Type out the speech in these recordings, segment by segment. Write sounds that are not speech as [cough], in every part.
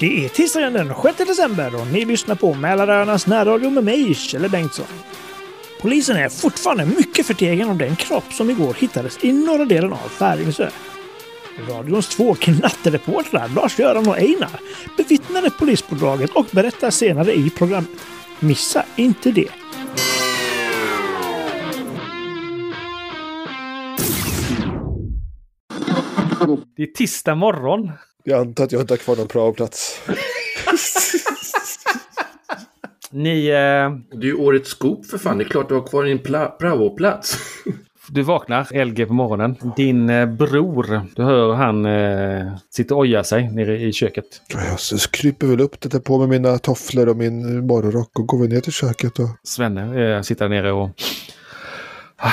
Det är tisdagen den 6 december och ni lyssnar på Mälaröarnas närradio med mig, Kjelle Bengtsson. Polisen är fortfarande mycket förtegen om den kropp som igår hittades i norra delen av Färingsö. Radions två knattereportrar, Lars-Göran och Einar, bevittnade polispådraget och berättar senare i programmet. Missa inte det! Det är tisdag morgon. Jag antar att jag inte har kvar någon praoplats. Ni, eh, Det är ju årets scoop för fan. Det är klart du har kvar din pla- praoplats. [laughs] du vaknar, LG, på morgonen. Din eh, bror, du hör han eh, sitter och ojar sig nere i köket. Jag s- kryper väl upp, tittar på med mina tofflor och min morgonrock och går väl ner till köket. Och... Svenne eh, sitter där nere och... Ah,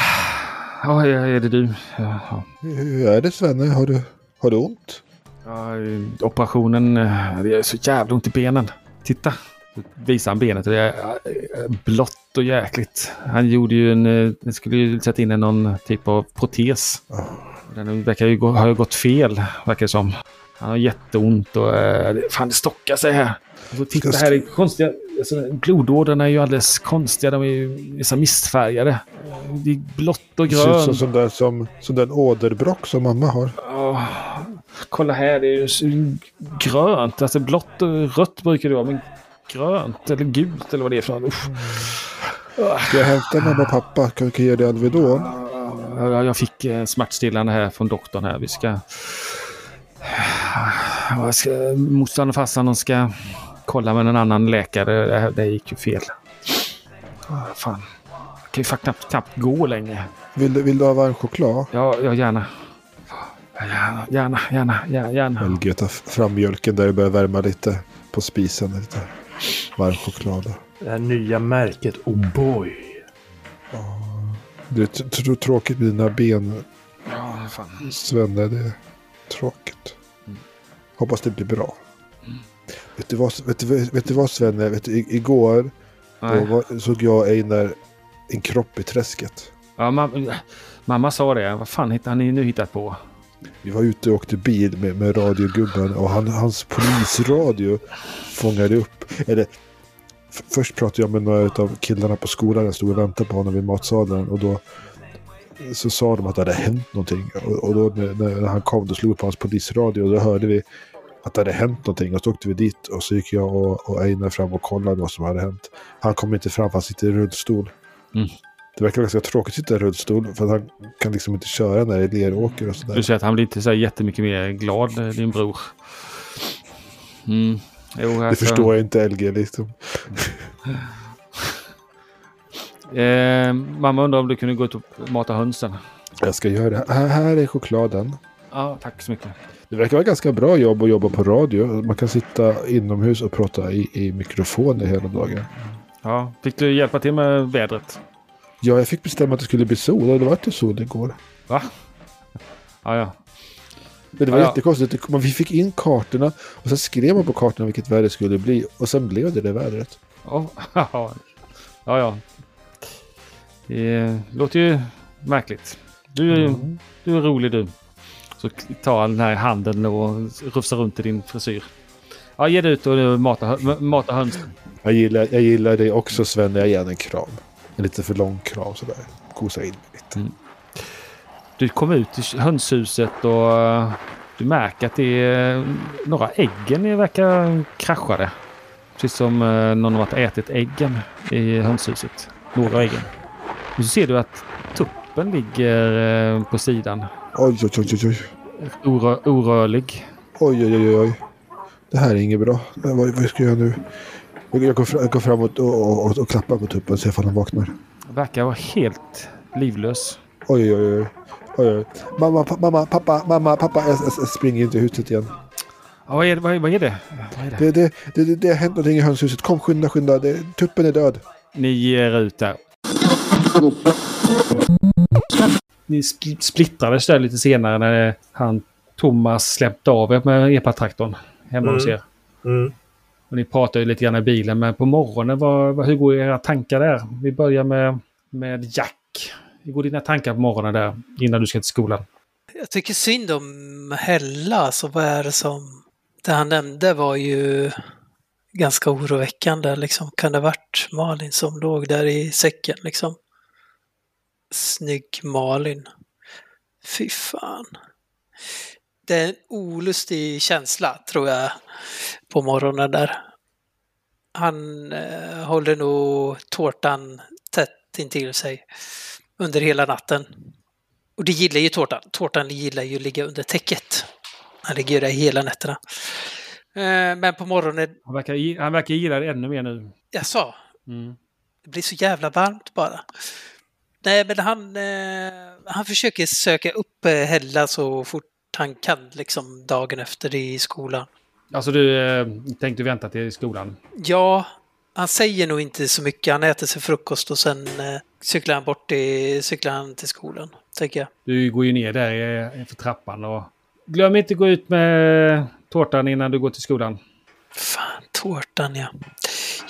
Ja, är det du? Ja, Hur är det Svenne? Har du, har du ont? Ja, operationen, eh, det gör så jävla ont i benen. Titta! Visar han benet. Det är eh, blått och jäkligt. Han gjorde ju en... eh, Han skulle ju sätta in en någon typ av protes. Den verkar ju gå, har ju gått fel, verkar det som. Han har jätteont och... eh, det- Fan, det stockar sig här. Och så titta här, det är konstiga... Alltså, blodådrorna är ju alldeles konstiga. De är ju nästan missfärgade. Det är blått och Det ser ut som, grönt. som, den, som, som den åderbrock som mamma har. Åh, kolla här, det är ju så grönt. Alltså blått och rött brukar det vara, men grönt eller gult eller vad det är för något. Uff. Ska jag hämta mamma och pappa? Kan vi kan ge dig Alvedon? Jag, jag fick eh, smärtstillande här från doktorn här. Vi ska... Jag ska morsan och farsan de ska kolla med en annan läkare. Det, här, det här gick ju fel. Ah, Fan. Jag kan ju fan knappt, knappt gå längre. Vill, du- vill du ha varm choklad? Ja, ja gärna. Gärna, gärna, gärna, gärna. gärna. LG tar fram mjölken där det börjar värma lite på spisen. Lite varm choklad. Det här nya märket O'boy. Det är tr- tr- tråkigt med dina ben Ja, fan. Mm. Svenne, det är tråkigt. Hoppas det blir bra. Vet du vad, vet du, vet du vad Svenne? Vet du, i- igår då Nej. var, såg jag Einar en kropp i träsket. Ja, mam- mamma sa det. Vad fan hittar ni nu hittat på? Vi var ute och åkte bil med, med radiogubben och han, hans polisradio fångade upp. Eller, f- först pratade jag med några av killarna på skolan. Jag stod och väntade på honom vid matsalen och då så sa de att det hade hänt någonting. Och, och då när, när han kom då slog vi på hans polisradio och då hörde vi att det hade hänt någonting. Och så åkte vi dit och så gick jag och, och Einar fram och kollade vad som hade hänt. Han kom inte fram för han sitter i rullstol. Mm. Det verkar ganska tråkigt att sitta i rullstol för att han kan liksom inte köra när det är leråker och sådär. Du säger att han blir inte så här jättemycket mer glad, eh, din bror. Mm. Jo, Det alltså, förstår jag inte LG liksom. Eh, mamma undrar om du kunde gå ut och mata hönsen. Jag ska göra det. Här, här är chokladen. Ja, tack så mycket. Det verkar vara ganska bra jobb att jobba på radio. Man kan sitta inomhus och prata i, i mikrofoner hela dagen. Ja, fick du hjälpa till med vädret? Ja, jag fick bestämma att det skulle bli sol och det var ju sol igår. Va? Ja, ja. Men det var Ja. jättekonstigt. Det- man- Vi fick in kartorna och sen skrev man på kartorna vilket väder det skulle bli och sen blev det det vädret. Oh, [laughs] ja, ja. Det eh, låter ju märkligt. Du, är ju- Mm. du är rolig du. Så tar han den här handen och rufsar runt i din frisyr. Ja, ge dig ut och eh, mata, hö- mata hönsen. Jag gillar, jag gillar dig också Sven, jag ger en kram. En lite för lång kram sådär. Kosa in mig lite. Du kommer ut i hönshuset och eh, du märker att det är eh, några äggen är- verkar kraschade. Precis som eh, någon har varit och ätit äggen i hönshuset. Några äggen. Och så ser du att tuppen ligger eh, på sidan. Oj, oj, oj, oj, oj. Orö- orörlig. Oj, oj, oj, oj. Det här är inget bra. Men Vad, vad ska jag göra nu? Jag, jag, går, fram, jag går fram och, och, och, och klappar på tuppen och ser ifall han vaknar. Verkar vara helt livlös. Oj, oj, oj, oj. oj, oj. Mamma, pa, mamma, pappa, mamma, pappa. Jag, jag, jag springer inte i huset igen. Ja, vad, är, vad, är, vad är det? Vad är det? Det, det, det, det, det har hänt någonting i hönshuset. Kom, skynda, skynda. Det, tuppen är död. Ni ger ut där. Ni sp- splittrades där lite senare när han Thomas släppte av er med epatraktorn hemma hos er. Mm. Och ni pratade ju lite grann i bilen, men på morgonen, vad, vad, hur går era tankar där? Vi börjar med, med Jack. Hur går dina tankar på morgonen där innan du ska till skolan? Jag tycker synd om Hella, så vad är det som... det han nämnde var ju ganska oroväckande. Liksom. Kan det ha varit Malin som låg där i säcken? Liksom? Snygg Malin. Fy fan. Det är en olustig känsla, tror jag, på morgonen där. Han eh, håller nog tårtan tätt intill sig under hela natten. Och det gillar ju tårtan. Tårtan gillar ju att ligga under täcket. Han ligger ju där hela nätterna. Eh, Men på morgonen, Han verkar, gi- han verkar gilla det ännu mer nu. jag sa, Mm. det blir så jävla varmt bara. Nej, men han, eh, han försöker söka upp eh, Hella så fort han kan, liksom dagen efter i skolan. Alltså du eh, tänkte vänta till skolan? Ja, han säger nog inte så mycket. Han äter sig frukost och sen eh, cyklar han bort till, cyklar han till skolan, tänker jag. Du går ju ner där eh, för trappan och... Glöm inte gå ut med tårtan innan du går till skolan. Fan, tårtan ja.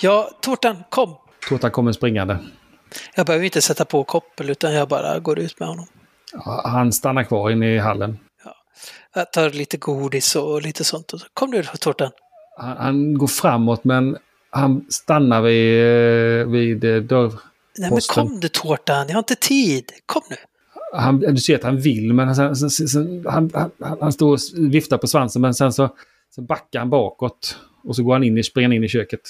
Ja, tårtan, kom! Tårtan kommer springande. Jag behöver inte sätta på koppel utan jag bara går ut med honom. Ja, Han stannar kvar inne i hallen. Jag tar lite godis och lite sånt. Och så, kom nu tårtan. Han, han går framåt men han stannar vid, eh, vid eh, dörr... Nej men Posten. kom du tårtan, jag har inte tid. Kom nu. Han, eh, du ser att han vill men sen, sen, sen- sen, han, han, han står och viftar på svansen men sen så sen backar han bakåt. Och så går han in i, springer in i köket.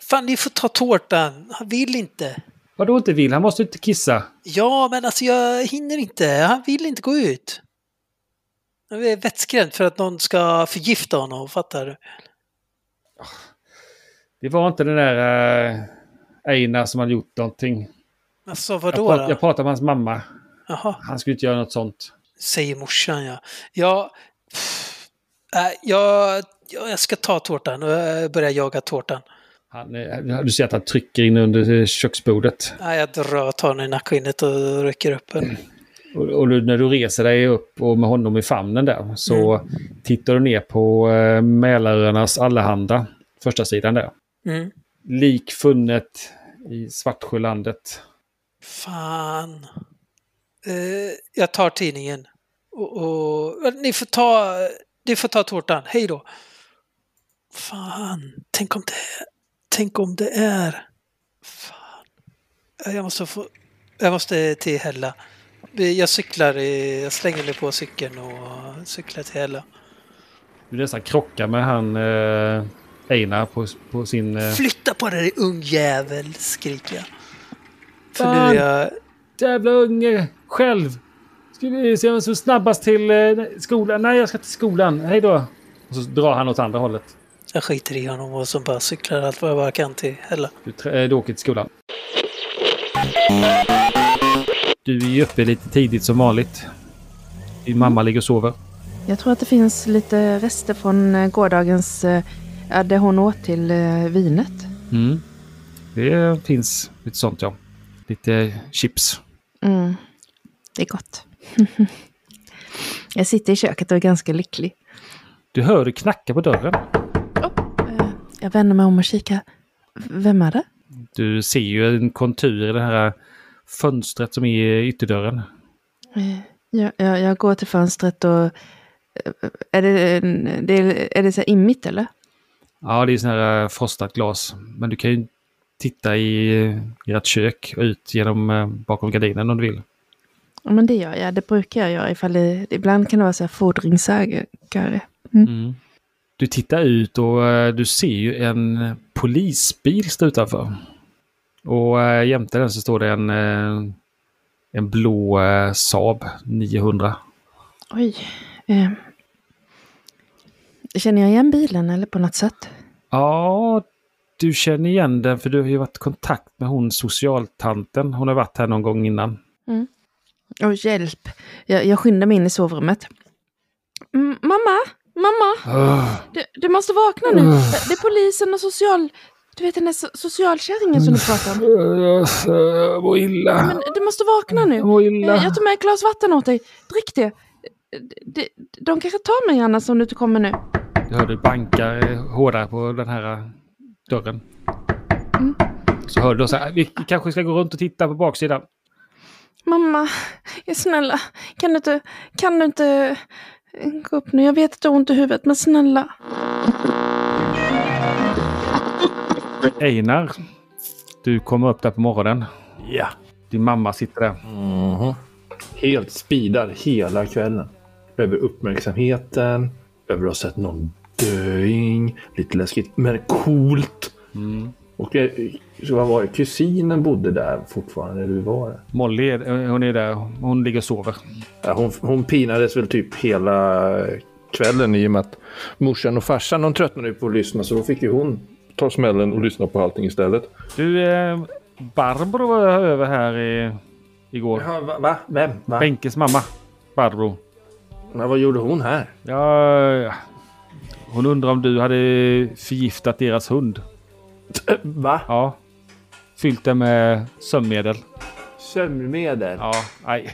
Fan ni får ta tårtan, han vill inte. Vadå inte vill? Han måste inte kissa. Ja men alltså jag hinner inte, han vill inte gå ut. Jag är vettskrämd för att någon ska förgifta honom, fattar du? Det var inte den där eh, Einar som hade gjort någonting. Alltså Jag, vadå prat, jag då? pratade med hans mamma. Jaha, Han skulle inte göra något sånt. säger morsan ja. Ja, pff, äh, jag, jag jag ska ta tårtan och jag börjar jaga tårtan. Han, eh, du ser att han trycker in under eh, köksbordet. Nej, jag drar tar henne i nackskinnet och rycker upp henne. Och, och du- när du reser dig upp och med honom i famnen där så tittar du ner på eh, Mälaröarnas Allehanda. Första sidan där. Mm. Lik funnet i Svartsjölandet. Fan. Eh, jag tar tidningen. Och, och, ni, får ta, ni får ta tårtan. Hej då. Fan, tänk om det, tänk om det är... Fan. Eh, Jag måste, få, jag måste till Hälla. Eh, Jag cyklar, eh, jag slänger mig på cykeln och cyklar till Hälla. Du nästan krockar med han eh, Einar på, på sin... Eh, Flytta på dig ung jävel, skriker jag. För nu är Fan. jag... jävla unge själv. Ska vi se vem som är snabbast till eh, skolan? Nej, jag ska till skolan. Hej då. Och så drar han åt andra hållet. Jag skiter i honom och så bara cyklar allt vad jag bara kan till Hälla. Du, trä- eh, du åker till skolan. Du är ju uppe lite tidigt som vanligt. Din mamma ligger och sover. Jag tror att det finns lite rester från eh, gårdagens, eh, ja, det hon åt till eh, vinet. Mm. Det finns lite sånt ja. Lite chips. Mm. Det är gott. [laughs] jag sitter i köket och är ganska lycklig. Du hör det knacka på dörren. Eh, Jag vänder mig om och kikar. V- Vem är det? Du ser ju en kontur i det här fönstret som är i ytterdörren. Eh, Jag, jag, jag går till fönstret och... eh, Är det, en- det, är- är det så här immigt eller? Ja, det är sån här eh, frostat glas. Men du kan ju titta i eh, ert kök och ut genom eh, bakom gardinen om du vill. Ja, men det gör jag. Det brukar jag göra. Ifall det, ibland kan det vara så här fordringsägare. Du tittar ut och eh, du ser ju en polisbil stå utanför. Och eh, jämte den så står det en, eh, en blå eh, Saab 900. Oj. Eh, känner jag igen bilen eller på något sätt? Ja, du känner igen den för du har ju varit i kontakt med hon socialtanten. Hon har varit här någon gång innan. Åh, hjälp. Jag, jag skyndar mig in i sovrummet. Mm, mamma! Mamma! Du, du måste vakna nu. Det är polisen och social... Du vet den där so- socialkärringen som du pratade om. Jag mår illa. Men du måste vakna nu. mår Eh, Jag tar med ett glas vatten åt dig. Drick det. Eh, De, de kanske tar mig annars om du inte kommer nu. Du hör det bankar eh, hårdare på den här eh, dörren. Mm. Så hör du så här, vi kanske ska gå runt och titta på baksidan. Mamma, jag snälla. Kan du inte... Kan du inte... Gå upp nu, jag vet att du har ont i huvudet, men snälla. Einar, du kommer upp där på morgonen. Ja. Din mamma sitter där. Helt speedad hela kvällen. Över uppmärksamheten, över att ha sett någon döing. Lite läskigt, men coolt. Mm. Och det, så vad var det? Kusinen bodde där fortfarande, eller hur var det? Molly, är- hon är där. Hon ligger och sover. Ja, hon, hon pinades väl typ hela kvällen i och med att morsan och farsan de tröttnade ju på att lyssna så då fick ju hon ta smällen och lyssna på allting istället. Du, eh, Barbro var över här i, igår. Jaha, va? va? Vem? Va? Benkes mamma, Barbro. Men vad gjorde hon här? Ja, hon undrar om du hade förgiftat deras hund. Va? Ja. Fyllt den med sömnmedel. Sömnmedel? Ja, nej.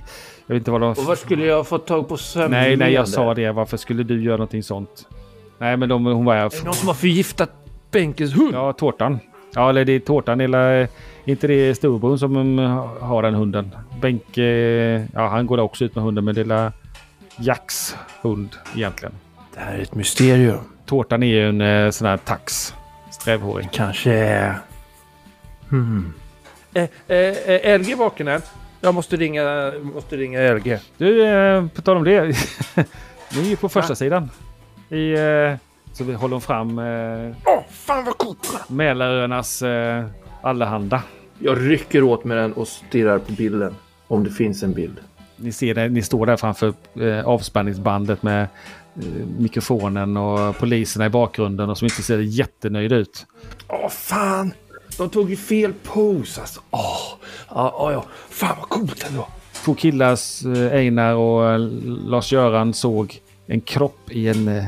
Jag vet inte vad de... Och Mm. var skulle jag ha fått tag på sömnmedel? Nej, nej, jag sa det. Varför skulle du göra någonting sånt? Nej, men de, hon var här. Är det någon som har förgiftat Benkes hund? Ja, tårtan. Ja, eller det är tårtan eller... eh, Inte det storebror som mm, har den hunden. Benke... Ja, han går där också ut med hunden, men det är lilla Jacks hund egentligen. Det här är ett mysterium. Tårtan är ju en eh, sån här tax. Strävhårig. Kanske... är- Hmm. Eh, eh, eh, LG vaken än? Jag måste ringa, måste ringa LG. Du, eh, på tal om det. [laughs] Ni är ju på första sidan. I, eh, så vi håller fram eh, Åh, fan vad coolt! Mälaröarnas eh, allehanda. Jag rycker åt med den och stirrar på bilden. Om det finns en bild. Ni ser det, ni står där framför eh, avspänningsbandet med eh, mikrofonen och poliserna i bakgrunden och som inte ser jättenöjda ut. Åh fan! De tog ju fel pose alltså. Åh! Ja, ja, ja. Fan vad coolt ändå. Två killar, eh, Einar och eh, Lars-Göran, såg en kropp i en eh,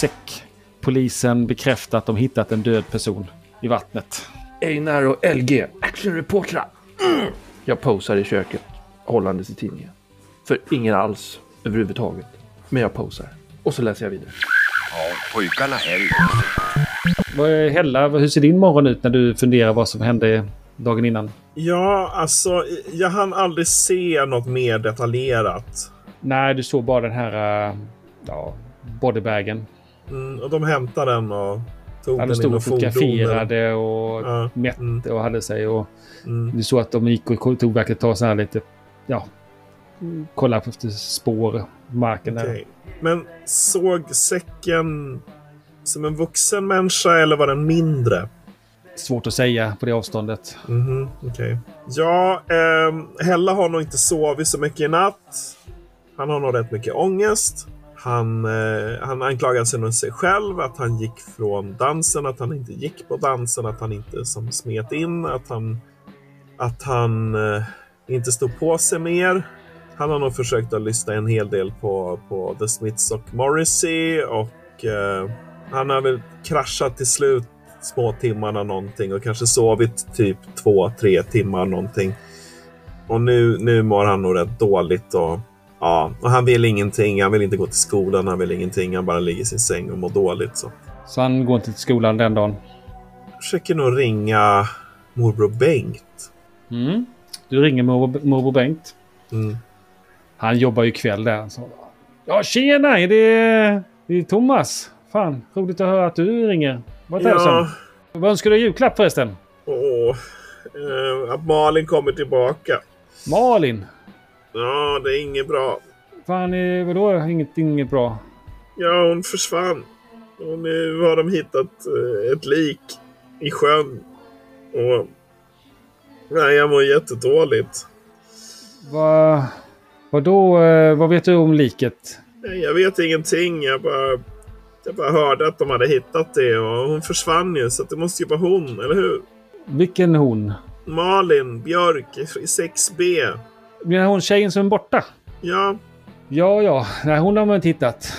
säck. Polisen bekräftar att de hittat en död person i vattnet. Einar och LG, actionreportrar. Mm. Jag posar i köket, hållandes i tidningen. För ingen alls, överhuvudtaget. Men jag posar. Och så läser jag vidare. Pojkarna Helg. Vad är Hella, hur ser din morgon ut när du funderar vad som hände dagen innan? Ja, alltså, jag hann aldrig se något mer detaljerat. Nej, du såg bara den här eh, ja, bodybagen. Mm, och de hämtade den och tog Ja, de den stod inom och fordonen. fotograferade och Ja, mätte mm. och hade sig. Och Mm. du såg att de gick och tog verkligen ta så här lite... Ja. Kolla efter spår. Marken där. Okej. Men såg säcken som en vuxen människa eller var den mindre? Svårt att säga på det avståndet. Mhm, okej. Ja, ehm, Hella har nog inte sovit så mycket i natt. Han har nog rätt mycket ångest. Han, eh, han anklagar sig nog sig själv att han gick från dansen, att han inte gick på dansen, att han inte som smet in, att han, att han eh, inte stod på sig mer. Han har nog försökt att lyssna en hel del på, på The Smiths och Morrissey och eh, han har väl kraschat till slut små timmarna någonting och kanske sovit typ två, tre timmar någonting. Och nu, nu mår han nog rätt dåligt och ja, och han vill ingenting. Han vill inte gå till skolan, han vill ingenting. Han bara ligger i sin säng och mår dåligt. Så Så han går inte till skolan den dagen. försöker nog ringa morbror Bengt. Mm. Du ringer morbror morbror Bengt. Mm. Han jobbar ju kväll där. Så. Ja tjena! Är det, det är Thomas? Fan, roligt att höra att du ringer. Vad är det Ja, som? Vad önskar du i julklapp förresten? åh, eh, att Malin kommer tillbaka. Malin? Ja, det är inget bra. Fan, eh, vadå? Inget, inget bra? Ja, hon försvann. Och nu har de hittat eh, ett lik i sjön. Och... Nej, jag mår jättedåligt. Va, vadå? eh, Vad vet du om liket? Nej, Jag vet ingenting. Jag bara, jag bara hörde att de hade hittat det och hon försvann ju så att det måste ju vara hon, eller hur? Vilken hon? Malin Björk i 6B. Menar hon tjejen som är borta? Ja, Ja, ja. Nej, hon har man inte hittat.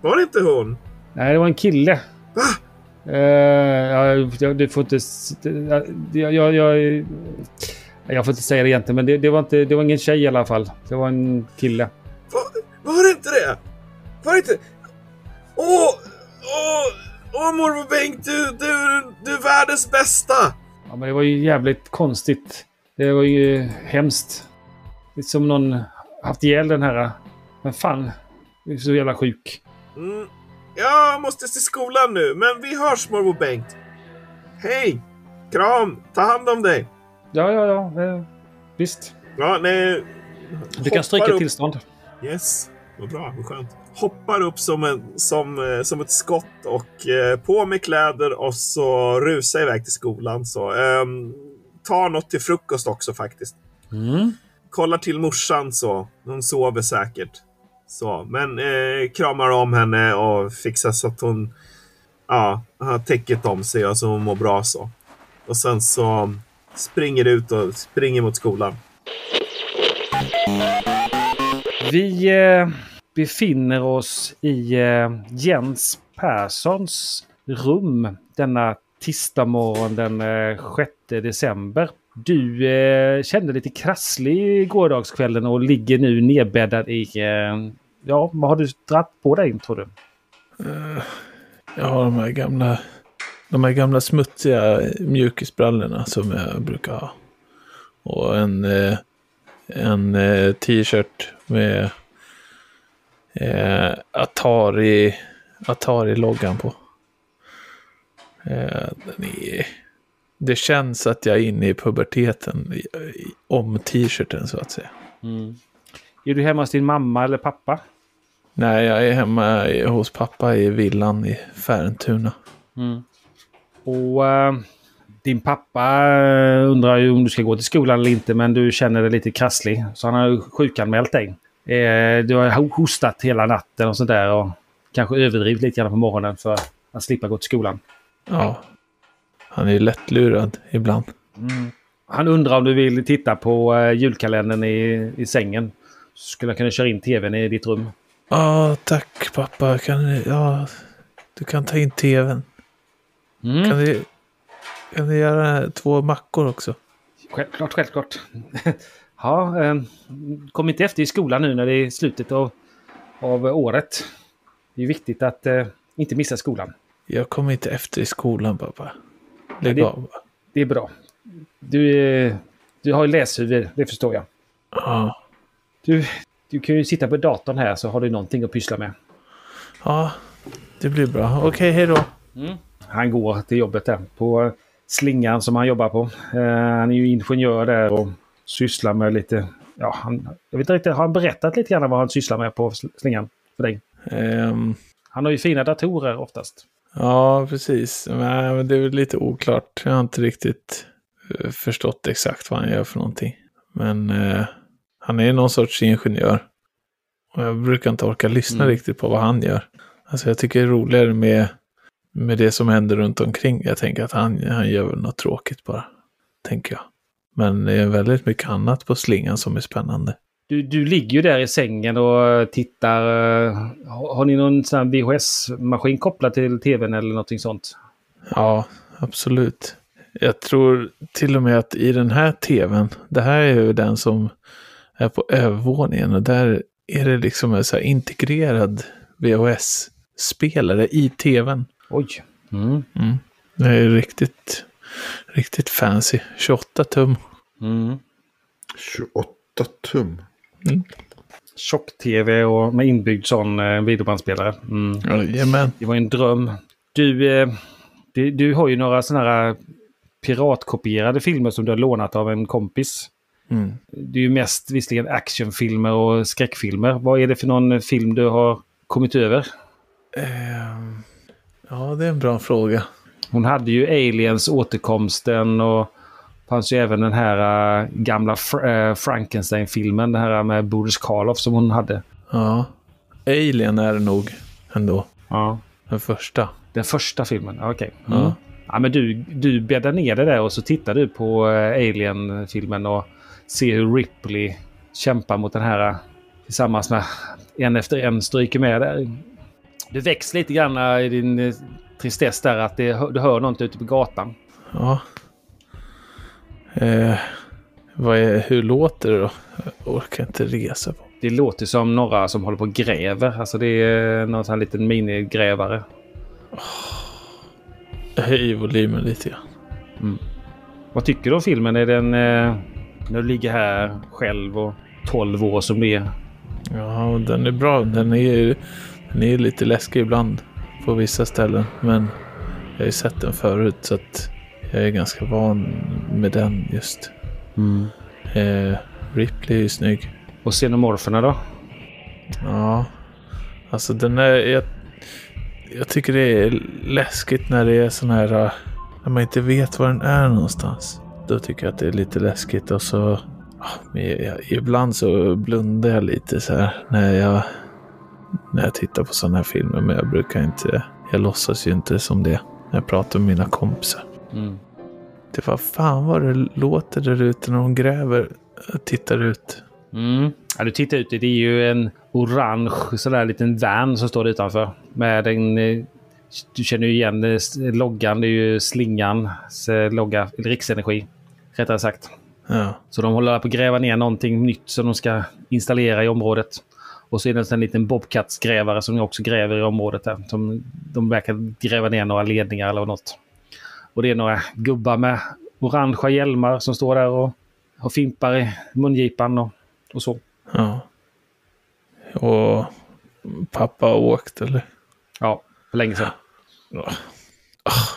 var det inte hon? Nej, det var en kille. Va? Eh, ja, jag- du får inte... s- Jag, jag, jag, jag får inte säga det egentligen, men det, det, var inte, det var ingen tjej i alla fall. Det var en kille. Var, var det inte det? Var det inte... Åh! Åh! Åh morbror Bengt, du, du, du är världens bästa! Ja, men det var ju jävligt konstigt. Det var ju hemskt. Det är som någon haft ihjäl den här... Men fan. Du är så jävla sjuk. Mm. Jag måste till skolan nu, men vi hörs morbror Bengt. Hej! Kram! Ta hand om dig! Ja, ja, ja. Eh, visst. Ja, nej. Du kan stryka Hoppar ett upp. tillstånd. Yes, vad bra, vad skönt. Hoppar upp som, en, som, eh, som ett skott och eh, på med kläder och så rusar iväg till skolan. Så, ehm, tar något till frukost också faktiskt. Mm. Kollar till morsan så. Hon sover säkert. Så, men eh, kramar om henne och fixar så att hon ja, har täcket om sig och så hon mår bra så. Och sen så springer ut och springer mot skolan. Vi eh, befinner oss i eh, Jens Perssons rum denna tisdagmorgon den eh, 6 december. Du eh, kände lite krasslig i gårdagskvällen och ligger nu nedbäddad i... Eh, ja, vad har du dratt på dig tror du? Ja, de här gamla, de här gamla smutsiga mjukisbrallorna som jag brukar ha. Och en, eh, en eh, t-shirt med eh, Atari, Atari-loggan på. Eh, den är, det känns att jag är inne i puberteten i, i, om t-shirten så att säga. Är du hemma hos din mamma eller pappa? Nej, jag är hemma i- hos pappa i villan i Färentuna. Och eh, din pappa eh, undrar ju om du ska gå till skolan eller inte, men du känner dig lite krasslig. Så han har ju sjukanmält dig. Eh, du har ho- hostat hela natten och sånt där och kanske överdrivit lite grann på morgonen för att slippa gå till skolan. Ja. Han är ju lättlurad ibland. Han undrar om du vill titta på eh, julkalendern i, i sängen. Så skulle jag kunna köra in tvn i ditt rum. Ja, tack pappa. Kan du, ja, du kan ta in tvn. Mm. Kan, du, kan du göra två mackor också? Självklart, självklart. [laughs] ja, eh, kom inte efter i skolan nu när det är slutet av, av året. Det är viktigt att eh, inte missa skolan. Jag kommer inte efter i skolan pappa. Lägg Ja, det- av. Det är bra. Du, eh, du har ju läshuvud, det förstår jag. Ja. Du, du kan ju sitta på datorn här så har du någonting att pyssla med. ja, det blir bra. Okej, hej då. Han går till jobbet där på slingan som han jobbar på. Eh, han är ju ingenjör där och sysslar med lite... Ja, han, jag vet inte riktigt, har han berättat lite grann vad han sysslar med på sl- slingan för dig? Ehm, Han har ju fina datorer oftast. ja, precis. Nej, men det är väl lite oklart. Jag har inte riktigt eh, förstått exakt vad han gör för någonting. Men eh, han är ju någon sorts ingenjör. Och jag brukar inte orka lyssna riktigt på vad han gör. Alltså jag tycker det är roligare med, med det som händer runt omkring. Jag tänker att han, han gör väl något tråkigt bara. Tänker jag. Men det är väldigt mycket annat på slingan som är spännande. Du, du ligger ju där i sängen och eh, tittar. eh, Har, har ni någon sån här VHS-maskin kopplad till tvn eller någonting sånt? Ja, absolut. Jag tror till och med att i den här tvn, det här är ju den som är på övervåningen och där är det liksom en så här integrerad VHS-spelare i tvn. Oj! Mm. Det är ju riktigt, riktigt fancy. 28 tum. 28 tum. Tjock-tv och med inbyggd sån eh, videobandspelare. Mm. Jajamän. Det var ju en dröm. Du, eh, du, du har ju några sådana här piratkopierade filmer som du har lånat av en kompis. Mm. Det är ju mest visserligen actionfilmer och skräckfilmer. Vad är det för någon film du har kommit över? Ehm, ja, det är en bra fråga. Hon hade ju Aliens, återkomsten och det fanns ju även den här äh, gamla Fr- äh, Frankenstein-filmen, den här med Boris Karloff som hon hade. Ja. Alien är det nog ändå. Ja. Den första. Den första filmen, Ja, okej. Mm. Ja. Ja, men du, du bäddar ner det där och så tittar du på äh, Alien-filmen och ser hur Ripley kämpar mot den här äh, tillsammans med en efter en stryker med där. Du väcks lite grann äh, i din äh, tristess där att det, du hör något ute på gatan. Ja. Eh, vad är, hur låter det då? Jag orkar inte resa på. Det låter som några som håller på och gräver. Alltså det är någon sån här liten minigrävare. Jag höjer volymen lite grann. Vad tycker du om filmen? Är den... Eh, när du ligger här själv och 12 år som det är. Ja, den är bra. Den är, den är lite läskig ibland på vissa ställen. Men jag har ju sett den förut så att jag är ganska van med den just. Mm. Eh, Ripley är ju snygg. Och xenomorferna då? Ja, alltså den är... Jag, jag tycker det är läskigt när det är sån här... äh, När man inte vet var den är någonstans. Då tycker jag att det är lite läskigt och så... ah, men jag- jag- Ibland så blundar jag lite så här när jag, när jag tittar på sådana här filmer. Men jag brukar inte... Jag låtsas ju inte som det när jag pratar med mina kompisar. Mm. Det var fan vad det låter där ute när de gräver. Jag tittar ut. Mm. Ja, du tittar ut. Det är ju en orange sådär liten van som står utanför. Med en, eh, du känner ju igen eh, s- loggan. Det är ju slingans eh, logga. eller Riksenergi. Rättare sagt. Ja. Så de håller på att gräva ner någonting nytt som de ska installera i området. Och så är det en liten Bobcats-grävare som också gräver i området. Här. De, de verkar gräva ner några ledningar eller något. Och det är några gubbar med orangea hjälmar som står där och, och fimpar i mungipan och, och så. Ja. Och pappa har åkt eller? Ja, för länge sedan. Ah,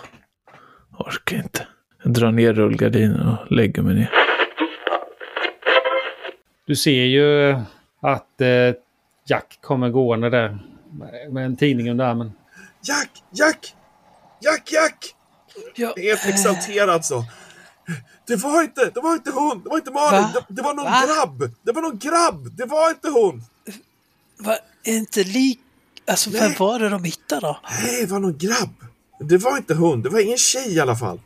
Orkar inte. Jag drar ner rullgardinen och lägger mig ner. Du ser ju att eh, Jack kommer gående där med- med en tidning under armen. Jack, Jack! Jack, Jack! Ja, Helt exalterad så. Det var inte, det var inte hon, det var inte Malin, Va? det, det var någon Va? grabb! Det var någon grabb! Det var inte hon! va, är inte lik... Alltså, vem var det de hittade då? Nej, det var någon grabb! Det var inte hon, det var ingen tjej i alla fall.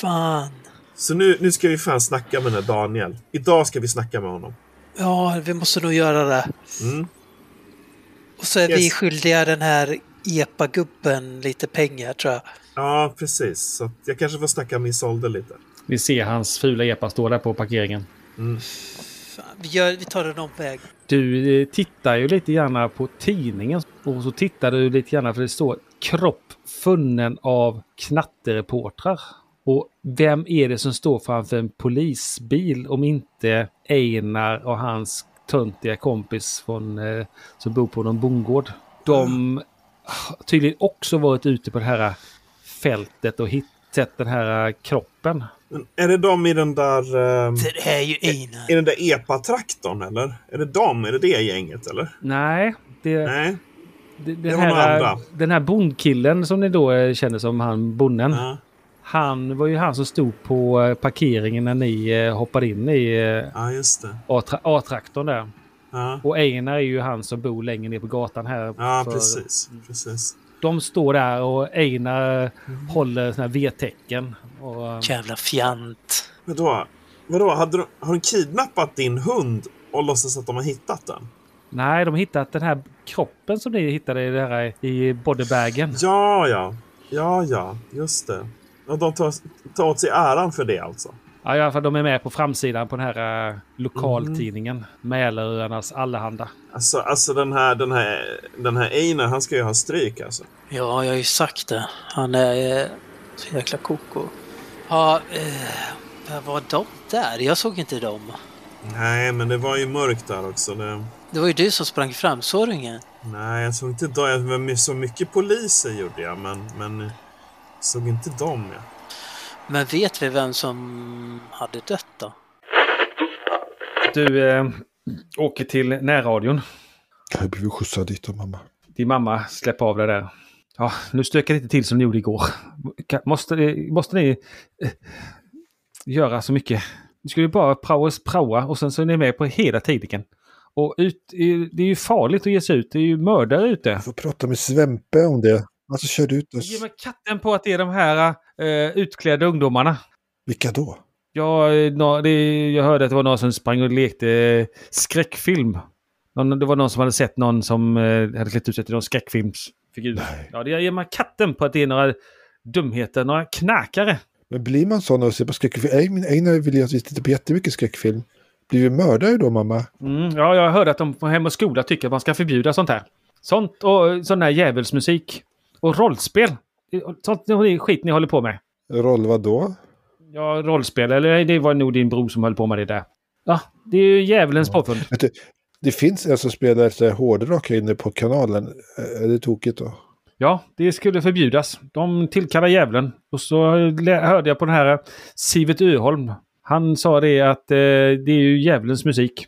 Fan. Så nu, nu ska vi fan snacka med den där Daniel. Idag ska vi snacka med honom. Ja, vi måste nog göra det. Mm. Och så är vi Yes. skyldiga den här EPA-gubben lite pengar tror jag. Ja, precis. Så att jag kanske får snacka med Isolde lite. Vi ser hans fula epa stå där på parkeringen. Fan, vi, gör, vi tar en omväg. Du eh, tittar ju lite gärna på tidningen och så tittar du lite gärna för det står kropp funnen av knattereportrar. Och vem är det som står framför en polisbil om inte Einar och hans töntiga kompis från, eh, som bor på någon bondgård. De har tydligen också varit ute på det här fältet och hitt- sett den här eh, kroppen. Men är det de i den där... ehm, Det är ju Einar. I den där EPA-traktorn eller? Är det dem? Är det det gänget eller? Nej, det, Nej. det, den, det var några här, andra. den här bondkillen som ni då eh, känner som han bonden. Ja. Han var ju han som stod på eh, parkeringen när ni eh, hoppade in i eh, ja, just det. A-tra- A-traktorn där. Ja, Och Einar är ju han som bor längre ner på gatan här. ja För- precis. precis. De står där och Einar Mm. håller såna här V-tecken. Och, eh, Jävla fjant. Vadå? Vadå? Hade de, har de kidnappat din hund och låtsas att de har hittat den? nej, de har hittat den här kroppen som ni hittade i, det här, eh, i bodybagen. Ja, ja. Ja, ja. Just det. Och de tar, tar åt sig äran för det alltså? Ja, i alla fall de är med på framsidan på den här eh, lokaltidningen. Mm. Mälaröarnas Allehanda. Alltså, alltså den här, den här, den här Einar, han ska ju ha stryk alltså. Ja, jag har ju sagt det. Han är eh, så jäkla koko. Ja, eh, vad var de där? Jag såg inte dem. Nej, men det var ju mörkt där också. Det, Det var ju du som sprang fram, såg du ingen? nej, jag såg inte dem. Jag var med så mycket poliser gjorde jag, men, men jag såg inte dem. Ja. Men vet vi vem som hade dött då? Du eh, åker till närradion. Jag blev skjutsad dit av mamma. Din mamma släpper av dig där. Ja, nu stökar det inte till som ni gjorde igår. Ka- Måste, eh, måste ni eh, göra så mycket? Ni skulle ju bara praoa praoa och sen så är ni med på hela tidningen. Och ut, eh, det är ju farligt att ge sig ut. Det är ju mördare ute. Jag får prata med Svempe om det. Han som körde ut oss. Ge mig katten på att det är de här eh, utklädda ungdomarna. Vilka då? Ja, eh, nå- det, jag hörde att det var någon som sprang och lekte eh, skräckfilm. Någon, det var någon som hade sett någon som eh, hade klätt ut sig till någon skräckfilmsfigur. Nej. Ja, det ger man katten på att det är några dumheter, några knäkare. Men blir man sån och ser på skräckfilm? Nej, min Einar vill ju att vi tittar på jättemycket skräckfilm. Blir vi mördare då, mamma? Mm, ja, jag hörde att de på Hem och Skola tycker att man ska förbjuda sånt här. Sånt och eh, sån där djävulsmusik. Och rollspel. Sånt är skit ni håller på med. Roll vad då? Ja, rollspel. Eller det var nog din bror som höll på med det där. Ja, det är ju djävulens påfund. Vet du, Det finns en som spelar så här hårdrock här inne på kanalen. Är det tokigt då? Ja, det skulle förbjudas. De tillkallar djävulen. Och så lä- hörde jag på den här eh, Sivert Öholm. Han sa det att eh, det är ju djävulens musik.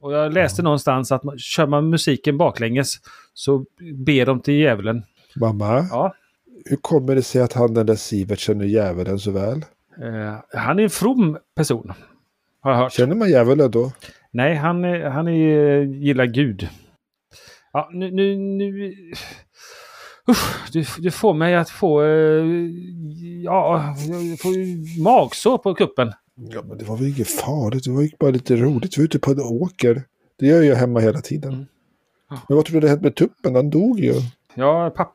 Och jag läste någonstans att man, kör man musiken baklänges så ber de till djävulen. Mamma? Ja. Hur kommer det sig att han den där Sivert känner djävulen så väl? Eh, han är en from person. Har jag hört. Känner man djävulen då? Nej, han, är- han är, gillar Gud. Ja, nu... nu, nu usch, du, du får mig att få... eh, Ja, jag får ju magsår på kuppen. Ja, men det var väl inget farligt. Det var ju bara lite roligt. Vi var ute på en åker. Det gör jag hemma hela tiden. Men vad tror du det hände med tuppen? Han dog ju. Ja, pappa,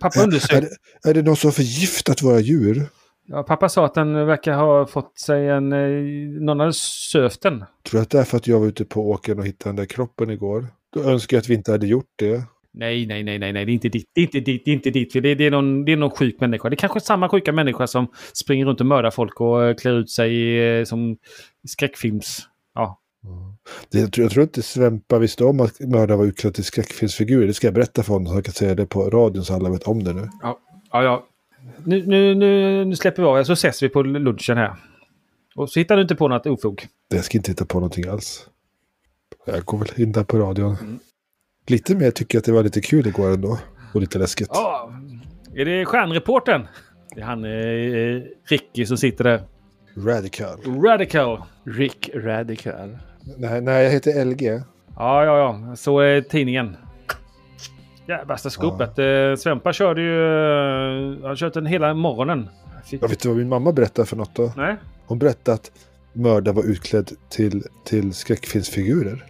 pappa Är undersökte. det, är det någon som har förgiftat våra djur? Ja, pappa sa att den verkar ha fått sig en... eh, Någon hade sövt den. Tror du att det är för att jag var ute på åkern och hittade den där kroppen igår? Då önskar jag att vi inte hade gjort det. Nej, nej, nej, nej, nej, det är inte ditt, det är inte ditt, det är inte ditt. Det är, det, är någon, det är någon sjuk människa. Det är kanske samma sjuka människa som springer runt och mördar folk och eh, klär ut sig eh, som skräckfilms... Ja, det jag, tror, jag tror inte Svempa visste om att mördaren var utklädd till skräckfilmsfigurer. Det ska jag berätta för honom så han kan säga det på radion så alla vet om det nu. Ja, ja. ja. Nu, nu, nu, nu släpper vi av er så ses vi på lunchen här. Och så hittar du inte på något ofog. Jag ska inte hitta på någonting alls. Jag går väl in där på radion. Lite mer tycker jag att det var lite kul igår ändå. Och lite läskigt. Ja, är det stjärnreporten? Det är han eh, Ricky som sitter där. Radical. Radical. Rick Radical. Nej, nej, jag heter LG. Ja, ja, ja. Så är tidningen. Ja, värsta skopet. Eh, Svempa körde ju... Eh, han körde den hela morgonen. Fick- Jag vet du vad min mamma berättade för något då? Nej, Hon berättade att mördaren var utklädd till, till skräckfilmsfigurer.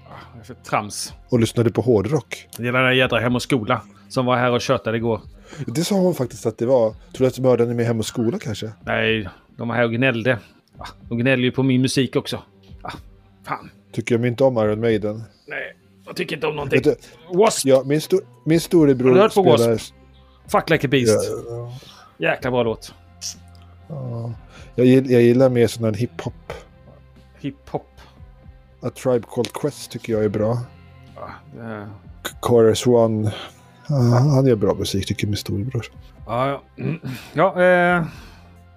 för trams. Och lyssnade på hårdrock. Det är den där jädra Hem och Skola som var här och tjötade igår. Det sa hon faktiskt att det var. Tror du att mördaren är med Hem och Skola kanske? Nej, de var här och gnällde. Ah, De gnäller ju på min musik också. Ah, fan. Tycker de inte om Iron Maiden? Nej, jag tycker inte om någonting. Vet du, Wasp, ja, min, sto- min storebror Har du hört på spelar... Fuck Like a Ja, Beast. Jäkla bra låt. ja. jag, gill- jag gillar mer sån här hiphop. Hiphop. A Tribe Called Quest tycker jag är bra. Ah, det är- K- Chorus One. Ja, han gör bra musik tycker min storebror. Ja, ja. Mm. ja eh,